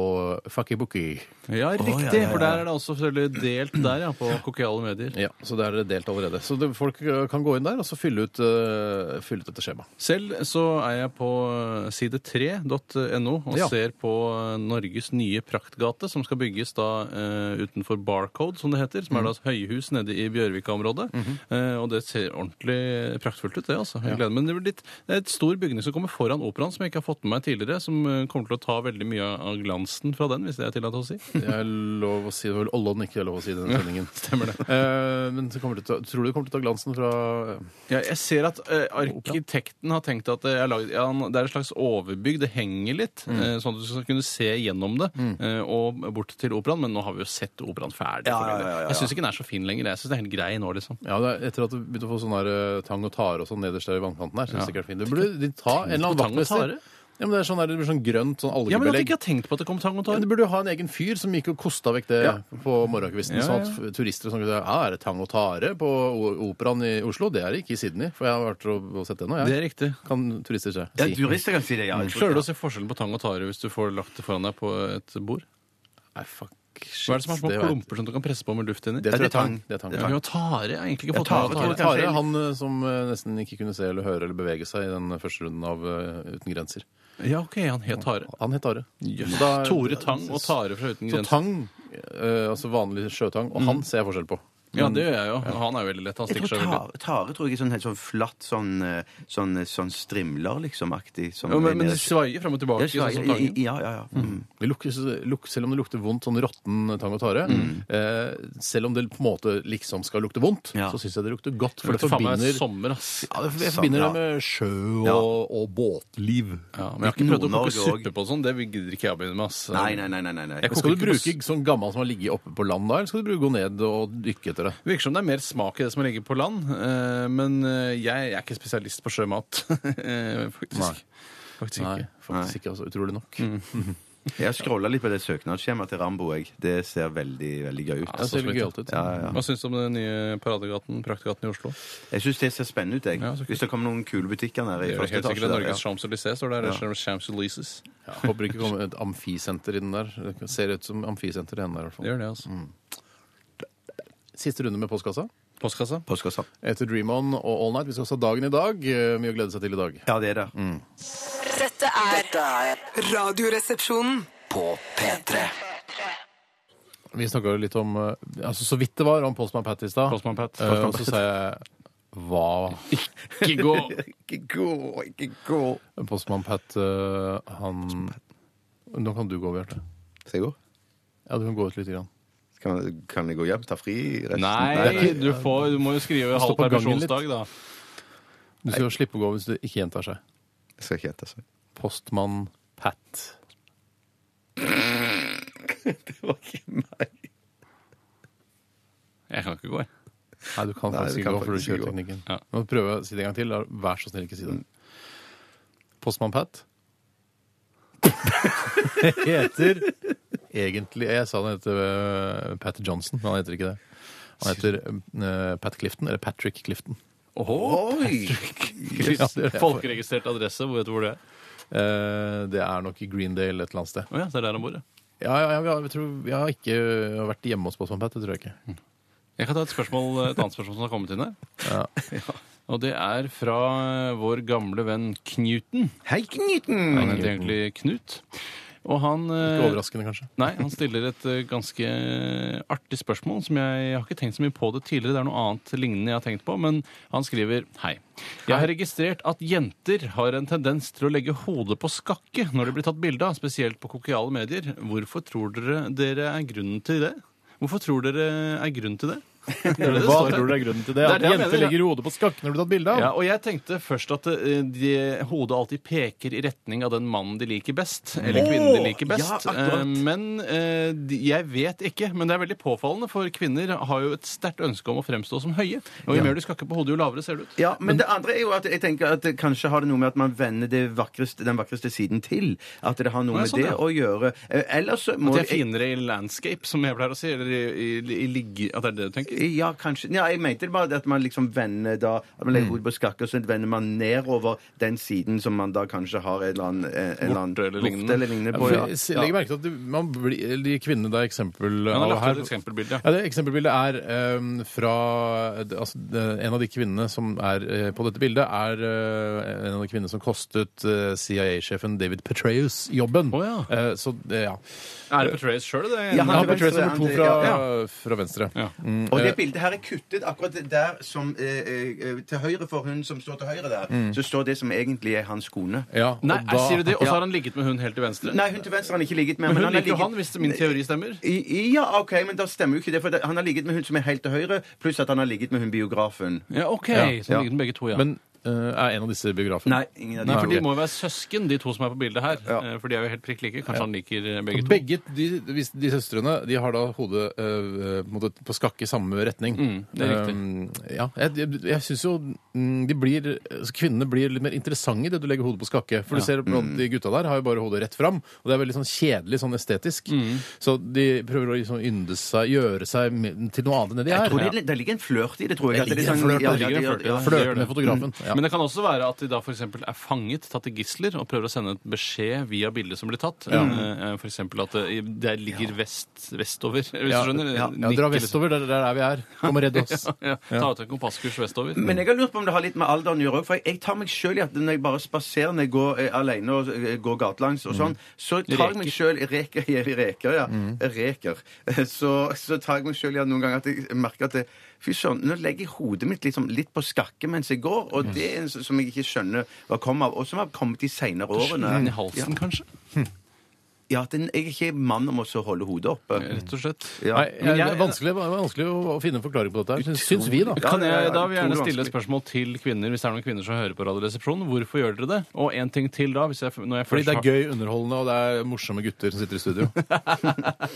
Fuckybooky.
Ja, riktig! For der er det også selvfølgelig delt der, ja, på kokiale medier.
Ja, så det er det delt allerede. Så det, folk eh, kan gå inn der og så fylle ut, eh, fylle ut dette skjemaet.
Selv så er jeg på side3.no og
Ja.
ser på Norges nye praktgate, som skal bygges da eh, utenfor Barcode, som det heter. Som er da et høyhus nede i Bjørvika-området. eh, og det ser ordentlig praktfullt ut, det. altså. Jeg gleder meg. Men det blir litt, det er et stor bygning som kommer foran operaen, som jeg ikke har fått med meg tidligere. Som eh, kommer til å ta veldig mye av glansen fra den, hvis det er tillatt å si.
Det er lov å si det er vel Ollon ikke er lov å si i denne sendingen.
Stemmer det.
Eh, men så kommer det til, å- tror du det kommer til å ta glansen fra
Ja, jeg ser at eh, arkitekten har tenkt at det er, laget, ja, han- det er et slags overbygg. Det henger litt, eh, sånn at du skal kunne se gjennom det eh, og bort til operaen. Men nå har vi jo sett operaen ferdig. for
ja,
det.
ja, ja,
Jeg syns ikke den er så fin lenger. Jeg syns det er helt grei nå, liksom.
Ja, det er etter at du begynte å få sånn der eh, tang og tare og sånn nederst der i vannkanten her. Synes jeg ikke er fint. Det burde de ta en eller annen
Tang og
vaktmester.
tare?
Ja, men det er sånn der, det blir sånn grønt sånn
Ja, men at jeg
algebelegg.
ikke har tenkt på at det kom tang og
Ja,
tar.
men Du burde jo ha en egen fyr som gikk og kosta vekk det på morgenkvisten.
Ja, ja.
Sånn at turister som kunne si ja, er det tang og tare på O- operaen i Oslo? Det er det ikke i Sydney, for jeg har vært og og sett det nå.
Det er
Jeg.
riktig.
Kan turister se.
Ja,
si.
turister kan si det, ja.
Mm,
Klarer du å se forskjellen på tang og tare hvis du får lagt det foran deg på et bord?
Nei, fuck. Shit,
Hva er det som er små
vet-
klumper som du kan presse på med luft inni?
Det
Ja,
tror jeg er tang.
det
Det
er
er tang.
Det
Ja, men tare Jeg har egentlig ikke fått
Ja,
tang og
Tare,
tare.
tare.
Tare, han eh, som eh, nesten ikke kunne se eller høre eller bevege seg i den første runden av eh, Uten grenser.
Ja, OK, han het Tare.
Han het Tare.
Jøss.
Så da-
Tore Tang og Tare fra Uten
Så
grenser. Mm.
tang, eh, altså vanlig sjøtang, og han ser jeg forskjell på.
Ja, det gjør jeg jo. Han er jo veldig lett. Han
Jeg tror
stikker seg veldig
tare, tare tror jeg er sånn helt sånn flatt, sånn, eh, sånn, sånn strimler, liksom, aktig. Sånn,
Ja, men, men
nede-
de svaier frem og tilbake.
Ja, svai-
sånn som tangen.
ja, ja, ja. Mm.
Det lukter, luk, selv om det lukter vondt, sånn råtten tang og tare,
Mm.
eh, selv om det på en måte liksom skal lukte vondt,
Ja.
så syns jeg det lukter godt, for
det
det
faen meg
forbinder
sommer, ass.
ja, det, jeg
Sånn,
forbinder
ja.
det med sjø og, og båtliv.
Ja, men jeg har ikke prøvd å koke
Nord-Norge
suppe på sånn. Det gidder ikke jeg å begynne med, ass.
Nei, nei, nei, nei, nei, nei.
Jeg koker
Skal du
ikke noe
bruke sånn gammel som har ligget oppe på land da, eller skal du bruke gå ned og dykke etter det?
Det virker som det er mer smak i det som ligger på land, eh, men eh, jeg er ikke spesialist på sjømat. Eh,
Nei.
Faktisk. Faktisk
Nei,
ikke.
faktisk ikke, altså, utrolig nok.
Jeg har scrolla litt på det søknadsskjemaet til Rambo. Jeg. Det ser veldig veldig gøy ut.
Det ser litt gøyalt ut.
Ja, ja, ja.
Hva syns du om den nye paradegaten, praktgaten i Oslo?
Jeg syns det ser spennende ut. jeg.
Ja, så kult.
Hvis det kommer noen kule butikker nede
Det
i
gjør det
første
helt
etasje.
sikkert
der,
Norges
ja.
Champs-Élysées står der. eller Champs-Élysées.
Ja, håper det ikke kommer et amfisenter i den der. Det ser ut som amfisenter i den der, i hvert
Det
fall.
gjør det, altså.
Siste runde med postkassa.
Postkassa?
Postkassa.
Etter Dream On og All Night. Vi skal også ha dagen i dag. Eh, Mye å glede seg til i dag.
Ja, det er det.
Mm.
Dette er
Dette er
Radioresepsjonen.
på P3.
Vi snakka litt om eh, altså Så vidt det var om Postman Pat i stad.
Postman Pat.
Eh, og så sa jeg hva
Ikke gå!
Ikke gå, ikke gå.
Postman Pat eh, han Nå kan du gå, Bjarte.
Skal jeg gå?
Ja, du kan gå ut litt. Grann.
Kan, kan jeg gå hjem? Ta fri? Resten?
Nei, du, får, du må jo skrive halv
Stå på gangen litt.
permisjonsdag, da.
Du skal jo slippe å gå hvis det ikke gjentar seg.
Jeg skal ikke hete sånn.
Postmann Pat.
Det var ikke meg.
Jeg kan ikke gå, jeg.
Nei, du kan
Nei,
faktisk
du
ikke
kan
gå, for du
faktisk
kjører
ikke gå.
teknikken.
Ja.
Nå prøver jeg å si det en gang til. da. Vær så snill, ikke si det. Postmann Pat. heter egentlig Jeg sa han heter øh, Pat Johnson, men han heter ikke det. Han heter øh, Pat Clifton, eller Patrick Clifton.
Oi!
Ja, det, er det.
Folkeregistrert adresse, hvor vet du hvor det er?
Eh, det er nok i Greendale et eller annet sted.
Å ja, det er der han bor, ja.
Ja, ja, ja, vi har- jeg, tror, jeg har ikke vært hjemme hos Postmann Pat, det tror jeg ikke.
Jeg kan ta et, spørsmål, et annet spørsmål som har kommet inn her.
Ja.
Eh, Og det er fra eh, vår gamle venn Knuten.
Hei, Knuten!
Han heter egentlig Knut. Og han eh,
Ikke overraskende, kanskje.
Nei, han stiller et eh, ganske eh, artig spørsmål som jeg, jeg har ikke tenkt så mye på det tidligere. Det er noe annet lignende jeg har tenkt på, men han skriver Hei. Jeg har registrert at jenter har en tendens til å legge hodet på skakke når det blir tatt bilde av, spesielt på kokiale medier. Hvorfor tror dere dere er grunnen til det? Hvorfor tror dere er grunnen til det? Det er det det
Hva
står her.
tror du er grunnen til det?
Det er
At
det jeg
jenter
mener, ja.
ligger hodet på skakken når du har tatt bilde av?
Ja, og jeg tenkte først at eh, de, hodet alltid peker i retning av den mannen de liker best, eller kvinnen de liker best.
ja, akkurat.
Eh, men eh, de, jeg vet ikke, men det er veldig påfallende, for kvinner har jo et sterkt ønske om å fremstå som høye. Og jo mer du skakker på hodet, jo lavere ser du ut.
Ja, men det andre er jo at jeg tenker at det kanskje har det noe med at man vender det vakreste, den vakreste siden til. At det har noe
Nei,
med
sånn, ja.
det å gjøre. Eh, Ellers så må
At de er finere i landscape, som jeg pleier å si, eller i, i, i ligge... At det er det du tenker?
Ja, kanskje. Ja, jeg mente det bare det at man liksom vender da At man legger hodet på skakke, og så vender man nedover den siden som man da kanskje har en eller annen, eh, en eller annen
Borte eller lignende.
eller lignende på.
For
Ja.
jeg s- legger merke til at det- man blir, eller de kvinnene det er eksempel
Han har
av
lagt ut
her
et eksempelbilde.
ja, det Eksempelbildet er eh, fra eh, altså, det- En av de kvinnene som er eh, på dette bildet, er eh, en av de kvinnene som kostet eh, CIA-sjefen David Petraeus jobben.
Å, ja.
Eh, så det, ja.
Er det Petraeus sjøl, det? Mm,
Ja,
Ja,
han- til
Petraeus
venstre,
nummer to
han til-
fra,
ja,
fra venstre.
Ja.
Og det bildet her er kuttet akkurat der som eh, eh, Til høyre for hun som står til høyre der, så står det som egentlig er hans kone.
Ja, og
Nei,
da-
sier du det? Og så har han ligget med hun helt til venstre?
Nei, hun til venstre har han ikke ligget med.
men hun
har
liker jo
ligget-
han, hvis min teori stemmer.
I- Ja, OK, men da stemmer jo ikke det. For det- han har ligget med hun som er helt til høyre, pluss at han har ligget med hun biografen.
Ja, OK.
Ja,
så
ja.
han ligger med begge to, ja.
Men eh, er en av disse biografene?
Nei, ingen av de
Nei, for
to.
de må jo være søsken, de to som er på bildet her.
Ja.
Eh, For de er jo helt prikk like. Kanskje han liker eh, begge
Begge,
to.
de, hvis de søstrene de har da hodet eh, på en måte på skakke i samme retning.
Mm, det er riktig.
Um, ja, jeg jeg, jeg syns jo mm, de blir, altså, kvinnene blir litt mer interessante idet du legger hodet på skakke. For du ser blant de gutta der har jo bare hodet rett fram, og det er veldig sånn kjedelig sånn estetisk.
Mm.
Så de prøver å liksom ynde seg, gjøre seg me- til noe annet enn det de
Jeg tror
er.
det, det ligger en flørt i det, tror
Det
jeg. at er
ligger en
sånn-
flørt,
ja,
det
ja,
ligger en
ja,
flørt i
ja.
det.
Flørte
gjør
med fotografen. Ja.
Men det kan også være at de da for eksempel er fanget, tatt til gisler, og prøver å sende et beskjed via bildet som blir tatt. Eh, eh, For eksempel at det, der ligger vest, vestover. Hvis
Ja,
du skjønner?
ja, ja,
Nikk,
dra
liksom.
vestover, det er der vi er. Kom og redd oss.
Ja, ta ut en kompasskurs vestover.
Men jeg har lurt på om det har litt med alderen å gjøre òg. For jeg, jeg tar meg sjøl i at når jeg bare spaserer når jeg går eh, alene og eh, går gatelangs og
Mm.
sånn, så tar jeg meg sjøl Reker. Jeg reker, ja. Reker. Så, så tar jeg meg sjøl i at noen ganger at jeg merker at det, Fy søren, nå legger jeg hodet mitt liksom litt på skakke mens jeg går, og
Mm.
det er en s- som jeg ikke skjønner hva kommer av, og som har kommet de seinere årene.
Inn i halsen, kanskje?
Ja, at en- jeg er ikke mann om å så holde hodet oppe.
Rett og slett.
Ja.
Nei,
Men
det
jeg-
er vanskelig, det er vanskelig å å finne en forklaring på dette, her, syns- syns vi, da.
Ja,
Kan
ja, ja,
jeg, da vil jeg
utrolig
gjerne stille et
vanskelig.
spørsmål til kvinner, hvis det er noen kvinner som hører på Radioresepsjonen. Hvorfor gjør dere det? Og en ting til da, hvis jeg, når jeg
Fordi
først
det
har-
er gøy, underholdende, og det er morsomme gutter som sitter i studio.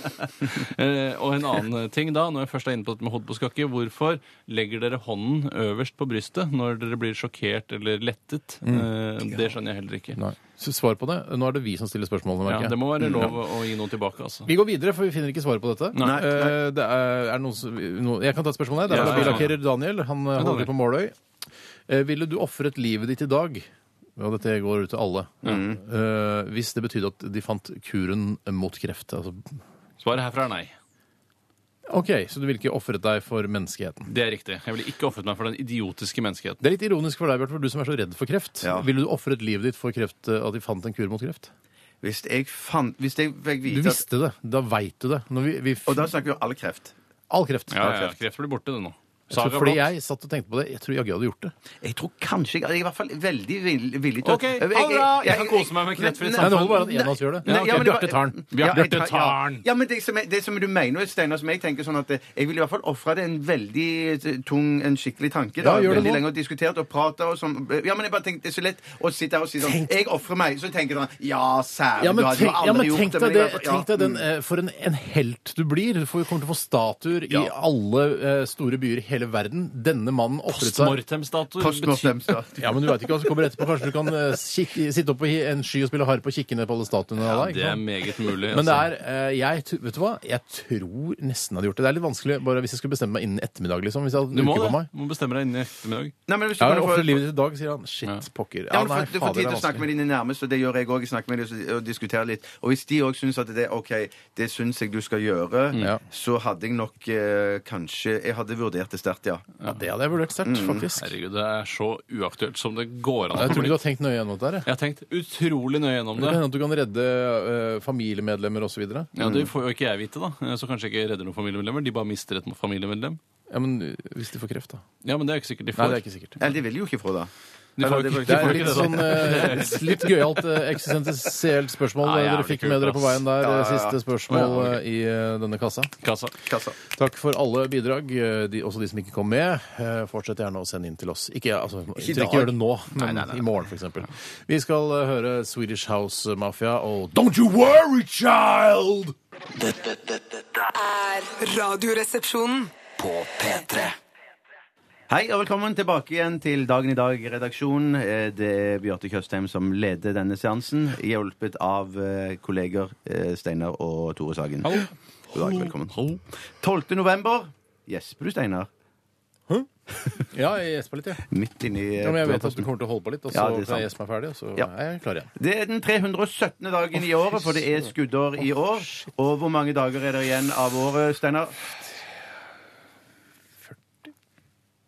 Eh, og en annen ting da, når jeg først er inne på dette med hodet på skakke, hvorfor legger dere hånden øverst på brystet når dere blir sjokkert eller lettet? Eh, det skjønner jeg heller ikke.
Mm. Nei. Mm. Så svar på det. Nå er det vi som stiller spørsmålene.
Ja,
merker jeg.
det må være lov å- å gi noe tilbake, altså.
Vi går videre, for vi finner ikke svaret på dette.
Nei.
Eh, Det er, er det noen som, no, jeg kan ta et spørsmål her. Det er
Ja,
fra
ja, ja.
billakkerer Daniel. Han eh, holder til på Måløy. Eh, Ville du ofret livet ditt i dag ja, dette går ut til alle.
Mm.
eh, hvis det betydde at de fant kuren mot kreft. Altså,
Svaret herfra er nei.
OK, så du ville ikke ofret deg for menneskeheten.
Det er riktig. Jeg ville ikke ofret meg for den idiotiske menneskeheten.
Det er litt ironisk for deg, Bjarte, for du som er så redd for kreft.
Ja.
Ville du ofret livet ditt for kreft, eh, at de fant en kur mot kreft?
Hvis jeg fant Hvis jeg
Du
fikk vite at-
visste det. Da veit du det. Når vi, vi, f-
Og da snakker vi om all kreft.
all kreft.
Ja, ja, ja. Kreft blir borte, det nå.
Så
Saga
fordi
Blad.
jeg satt og tenkte på det, jeg tror jaggu jeg hadde gjort det.
Jeg tror kanskje Jeg jeg er i hvert fall veldig vill- villig til å-
Ok, hurra! Jeg kan kose meg med kreftfritt
Men-
Nei, det
men-
holder bare at en av oss gjør det.
Nei,
Ja, ok,
men det var-
Bjarte tar den.
Ja, jeg
Bjarte
tar-
tar den.
Ja, men det som, er, det som du mener, Steinar, som jeg tenker sånn at eh, jeg vil i hvert fall ofre det en veldig eh, tung, en skikkelig tanke. Da,
Ja, gjør det
veldig
nå.
lenge og diskutert og pratet og sånn. Ja, men jeg bare tenkte, det er så lett å sitte her og si sånn Jeg ofrer meg. Så tenker jeg sånn Ja, sære,
Ja, men
du hadde jo
tenk, ja,
aldri
men
gjort
tenk
det.
deg,
jeg
det,
i hvert fall- ja,
tenk deg den,
mm.
eh, for en, en helt du blir. Du får- kommer til å få statuer i alle eh, store byer i hele verden denne mannen ofret seg
Mm.
Postmortem-statuer betyr-
Postmortemstat.
Ja, men du veit ikke hva som kommer etterpå. Kanskje du kan eh, kikke, sitte oppe i en sky og spille harpe og kikke ned på alle statuene? av
Ja,
deg, ikke
det er
sant?
meget mulig.
Men det
altså.
er eh, jeg, t- Vet du hva? Jeg tror nesten jeg hadde gjort det. Det er litt vanskelig bare hvis jeg skulle bestemme meg innen ettermiddag, liksom. Hvis jeg hadde
Du
en
må
uke på
det.
meg.
Du må bestemme deg innen ettermiddag.
Nei, men hvis du
Ja,
kunne få-
ofrer livet ditt i dag, sier han. Shit, pokker.
Ja,
Ja,
men
nei,
for- Du får
fader,
tid
det
til å
er
snakke med
vanskelig.
dine nærmeste, og det gjør jeg òg. Jeg snakker med dem og diskuterer litt. Og hvis de òg syns at det er OK, det syns jeg du skal gjøre,
Ja.
så hadde jeg nok eh, kanskje Jeg hadde vurdert det sterkt, ja.
Ja, det hadde jeg vurdert sterkt, faktisk.
Herregud, det er så uaktuelt som det går an
Jeg tror
å
ikke
bli.
du har tenkt nøye gjennom dette. her, jeg.
Jeg har tenkt utrolig nøye gjennom
Det
det.
kan hende at du kan redde eh, familiemedlemmer osv. Ja,
Ja, Det
Mm.
får jo ikke jeg vite, da. Så kanskje jeg ikke redder noen familiemedlemmer. De bare mister et familiemedlem.
men eh, hvis de får kreft, da?
Ja, men det er ikke sikkert
Nei,
de får.
det er ikke sikkert.
Eller de vil jo ikke få det.
De
Nei,
får
det
ikke,
er
Det
de
er
får
litt
ikke det,
sånn
da.
eh, litt gøyalt eh, eksistensielt spørsmål
Nei,
eh,
jævlig
dere fikk
kult,
med dere på
ass.
veien der.
Ja,
eh,
ja, ja.
Siste spørsmål
Ja, ja,
eh, i eh, denne kassa.
sånn-
Kassa.
Kassa.
Takk for alle bidrag, eh, de, også de som ikke kom med. Eh, Fortsett gjerne å sende inn til oss. Ikke, altså,
Ikke i
trenger ikke
dag.
gjøre det nå, men i morgen f.eks. Vi skal eh, høre Swedish House Mafia og Don't You Worry Child!
Dette, dette, dette
er Radioresepsjonen.
på P3.
Hei og velkommen tilbake igjen til Dagen i dag-redaksjonen. Det er Bjarte Tjøstheim som leder denne seansen, hjulpet av eh, kolleger eh, Steinar og Tore Sagen.
Hallo.
God dag, velkommen. 12. november. Gjesper du, Steinar?
Ja, jeg gjesper litt, jeg.
Midt inni eh,
Ja, men jeg vet at du kommer til å holde på litt, og så
Ja, det er
kan jeg
sant.
gjespe meg ferdig, og så
Ja.
er jeg klar igjen.
Det er den 317. dagen i året, for det er skuddår i år. Og hvor mange dager er det igjen av året, Steinar?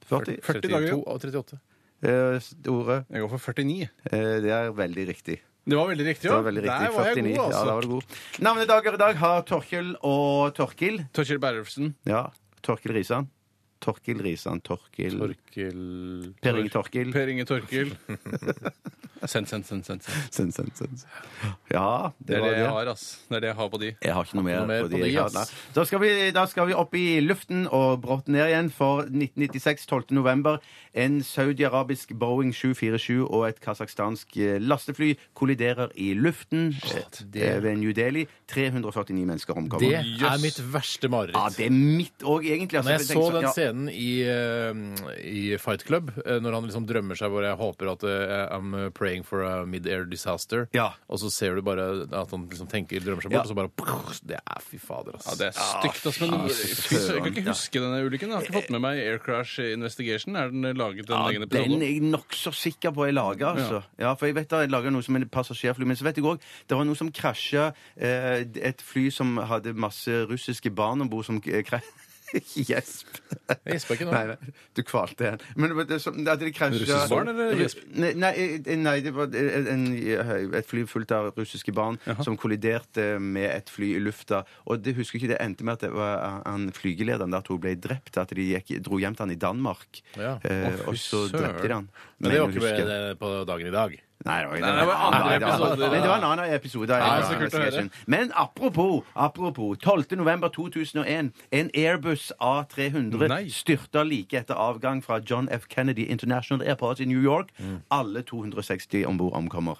40. 40.
40 dager.
42 av 38.
Eh, Store.
Jeg går for 49.
Eh, Det er veldig riktig.
Det var veldig riktig,
Det
ja.
var veldig riktig.
Der var jeg god,
49. Ja, da
altså.
var du god. Navnedager i dag har Torkjell og Torkil.
Torkjell Berrelfsen.
Ja, Torkil Risan. Torkil Risan, Torkil
Torkil
Per Inge Torkil.
Per Inge Torkil. Send, send, send. send. send.
Send, send, send. Ja, det,
Det er
var
det jeg
det.
har, ass. Det er det jeg har på de.
Jeg har ikke noe mer,
mer
på de.
på de,
jeg har.
ass.
Nei. Da skal, vi, da skal vi opp i luften og brått ned igjen. For 1996, 12. november, en saudiarabisk Boeing 747 og et kasakhstansk eh, lastefly kolliderer i luften eh, eh, ved New Delhi. 349 mennesker omkommer.
Det er mitt verste mareritt.
ja, det er mitt òg, egentlig. altså.
Når jeg
For
så
tenker sånn,
den
ja.
scenen i, eh, i Fight Club, eh, når han liksom drømmer seg hvor jeg håper at eh, I'm praying for a mid-air disaster,
Ja.
og så ser du bare at han liksom tenker, drømmer seg bort,
Ja.
og så bare Det er fy fader, altså.
Ja, det er stygt, ass. Men fy søren, jeg kan ikke
Ah, Ja.
huske denne ulykken. Jeg har ikke fått med meg Air Crash Investigation. Er den laget en
Ja,
egen episode?
den
om?
er jeg nokså sikker på jeg lager. Altså. Ja. for jeg vet da, jeg lager noe som en passasjerfly. Men så vet jeg òg det var noe som krasja eh, et fly som hadde masse russiske barn om bord som krasja. Gjesp.
Jeg gjesper ikke nå.
Nei, nei, du kvalte igjen. Men det var det som, at det krasja
Russiske barn, eller gjesp?
Nei, nei, eh, nei, det var en, eh, et fly fullt av russiske barn som kolliderte med et fly i lufta. Og det husker jeg ikke, det endte med at det var eh, han flygelederen der at hun ble drept. At de gikk, dro hjem til han i Danmark.
Ja.
Eh,
Å, fy
og så
søren.
drepte de han.
Men det var
jeg
ikke
husker-
med det på dagen i dag.
Nei, det var, ikke
Nei, det var
Nei,
andre
det var-
episoder.
Men det var en annen episode. av
Nei,
Air
så kult å
Investigation. Men apropos, apropos 12. november 2001. En Airbus A300
Nei.
styrta like etter avgang fra John F. Kennedy International Airport i New York.
Mm.
Alle 260 om bord omkommer.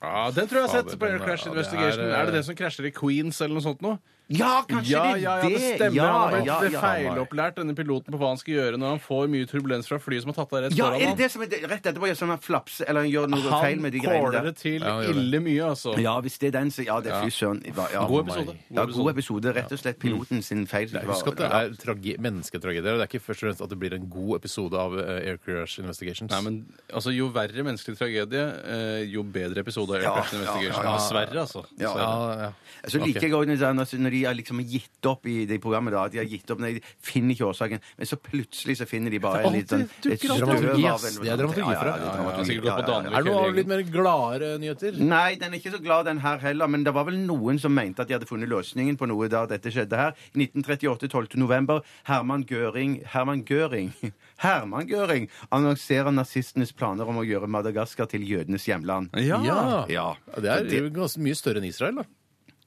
Ja, den tror jeg jeg har sett
Fader,
på Air
den er- ja,
Crash
det
Investigation.
er,
Er, det den som krasjer i Queens eller noe sånt noe?
Ja, kanskje
Ja, ja,
det er
ja,
det!
det stemmer. han har
ja,
blitt
ja.
feilopplært, denne piloten, på hva han skal gjøre når han får mye turbulens fra flyet som har tatt av rett
Ja,
foran
er det
ham.
det som er det- rett etterpå? Ja, sånn han flapser, eller han gjør noe feil
Han
med de greiene
caller
der.
det til
Ja, han gjør det.
ille mye, altså.
Ja, hvis det er den, så ja, det er fy søren. Ja, ja. oh
God episode. Mm.
Ja, god episode. Rett og slett piloten sin feil.
Husk at det er trage mennesketragedier. og Det er ikke først og fremst at det blir en god episode av eh, Air Crash Investigations.
Nei, men altså, Jo verre menneskelig tragedie, eh, jo bedre episode av Air
Ja,
Crash Investigation.
ja, ja, ja.
Dessverre, altså.
Ja.
Dessverre.
ja, ja.
Så liker jeg også når de- når- når de har liksom gitt opp i det programmet. da, at De har gitt opp, når de finner ikke årsaken, men så plutselig så finner de bare en litt sånn
dukker
et
opp
støv av
dramaturgi,
en-
ass. Det er dramaturgi for
Ja, ja,
deg.
det er
Ja, ja,
dramaturgi.
sikkert gått på
Ja, ja, ja.
Danvik
Er det noe av
hele
litt
gjengen.
mer gladere nyheter?
Nei, den er ikke så glad, den her heller. Men det var vel noen som mente at de hadde funnet løsningen på noe da dette skjedde her. 1938, 12. november. Herman Göring Herman Göring Herman Göring annonserer nazistenes planer om å gjøre Madagaskar til jødenes hjemland.
Ja.
Ja.
Ja.
Det er jo ganske mye større enn Israel, da.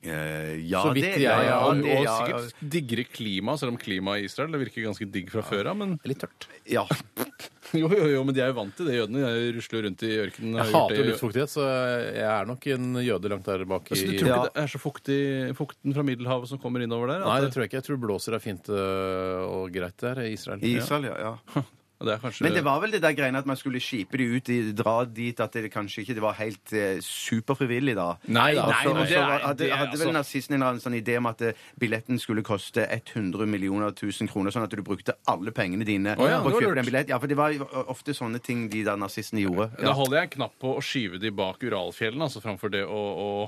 Eh, ja,
Så vidt
det-
jeg-
ja,
Ja,
ja,
og,
det-
og
ja, ja.
sikkert diggere klima, selv om klimaet i Israel det virker ganske digg fra før av. Men
Litt tørt.
Ja.
Jo, jo, jo, men de er jo vant til det, jødene. De rusler rundt i ørkenen. har
Jeg
gjort
hater jo
det i-
luftfuktighet, så jeg er nok en jøde langt der bak i
Så Altså, du tror ikke det er så fuktig fukten fra Middelhavet som kommer innover der?
Nei,
At
det tror jeg ikke. Jeg tror blåser er fint øh, og greit der i Israel.
I Israel, ja. ja.
det, det er kanskje
Men det var vel det der greiene at man skulle skipe de ut, i- dra dit at det kanskje ikke det var helt eh, superfrivillig, da.
Nei,
Og
nei,
så-
men
og
det
så
er-
var- hadde,
det er
hadde vel
altså-
nazistene en eller annen sånn idé om at eh, billetten skulle koste 100 millioner tusen kroner, sånn at du brukte alle pengene dine
Å ja, det var
på å
lurt.
kjøpe den billetten. Ja, for det var jo ofte sånne ting de der nazistene gjorde.
Da
Ja.
holder jeg en knapp på å skyve de bak Uralfjellene, altså framfor det å,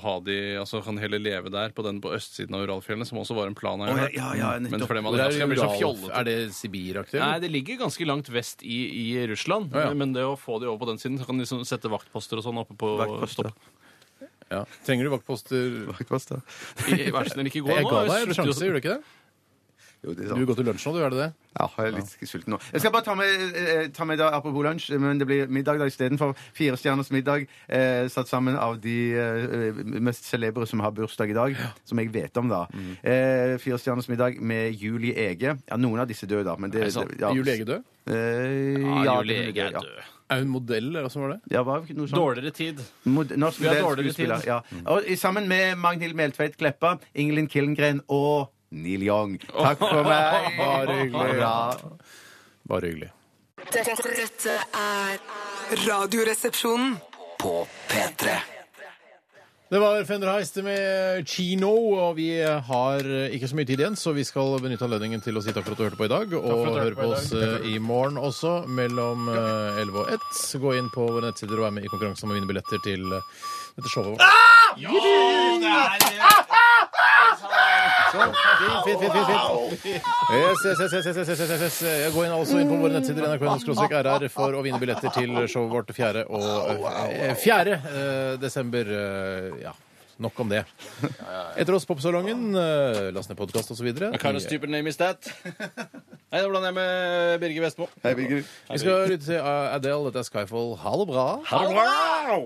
å ha de Altså kan heller leve der, på den på østsiden av Uralfjellene, som også var en plan. har jeg
Å, ja,
hørt.
ja, ja, nettopp.
Men fordi
Mm.
man
Hvor er,
raskt kan bli så
Ural?
fjollete.
er det Sibir-aktig?
Nei,
eller?
det ligger ganske langt vest i, i Russland.
Å, ja.
Men det å få de over på den siden, så kan de liksom sette vaktposter og sånn oppe på
Vaktposter.
stopp.
Ja. Trenger du vaktposter?
I, vær så snill, ikke gå
Jeg ga
nå.
deg en
slutter jo-
sjanse, gjorde du ikke det?
Jo, det er
Du
sant.
vil gå til lunsj nå, du? Er det det?
Ja, jeg er litt sulten nå. Jeg skal bare ta med, eh, ta med da, apropos lunsj, men det blir middag da istedenfor. Fire stjerners middag eh, satt sammen av de eh, mest celebre som har bursdag i dag, som jeg vet om, da.
Mm.
Eh, fire stjerners middag med Julie Ege. Ja, noen av disse døde, da. Men det,
Er det sant?
det-
Er Julie Ege død?
Eh,
Ja,
ja,
Julie
det-
Ege er
ja.
død.
Er hun modell, eller åssen var det?
Ja, var det ikke noe sånt?
Dårligere tid.
Mod norsk
Vi har
modell,
dårligere
skuespiller,
tid.
Ja. Og, i- sammen med Magnhild Meltveit Kleppa, Ingelin Killengren og Neil Young. Takk for meg.
Bare hyggelig.
Ja.
Bare hyggelig.
Dette, dette er Radioresepsjonen.
På P3
Det var Fender Heist med Chino, og vi har ikke så mye tid igjen, så vi skal benytte anledningen til å si takk for at du hørte på i dag, og høre på oss eh, i morgen også, mellom eh, 11 og 1. Gå inn på våre nettsider og vær med i konkurransen om å vinne billetter til eh, dette showet vårt. Sånn. Fint, fint, fint, fint, fint. Yes, yes, yes, yes, yes, yes, yes, yes, yes. Gå inn altså inn på våre nettsider nrk.no-rr for å vinne billetter til showet vårt 4. og eh, 4. eh, desember. eh, Ja, nok om det. Etter oss Popsalongen, eh, last ned podkast osv.
Carlos
Vi
typer name is that. Hei, da blander jeg med Birger Vestmo.
skal lytte til eh, Adele. Dette er Skyfall. Ha det bra.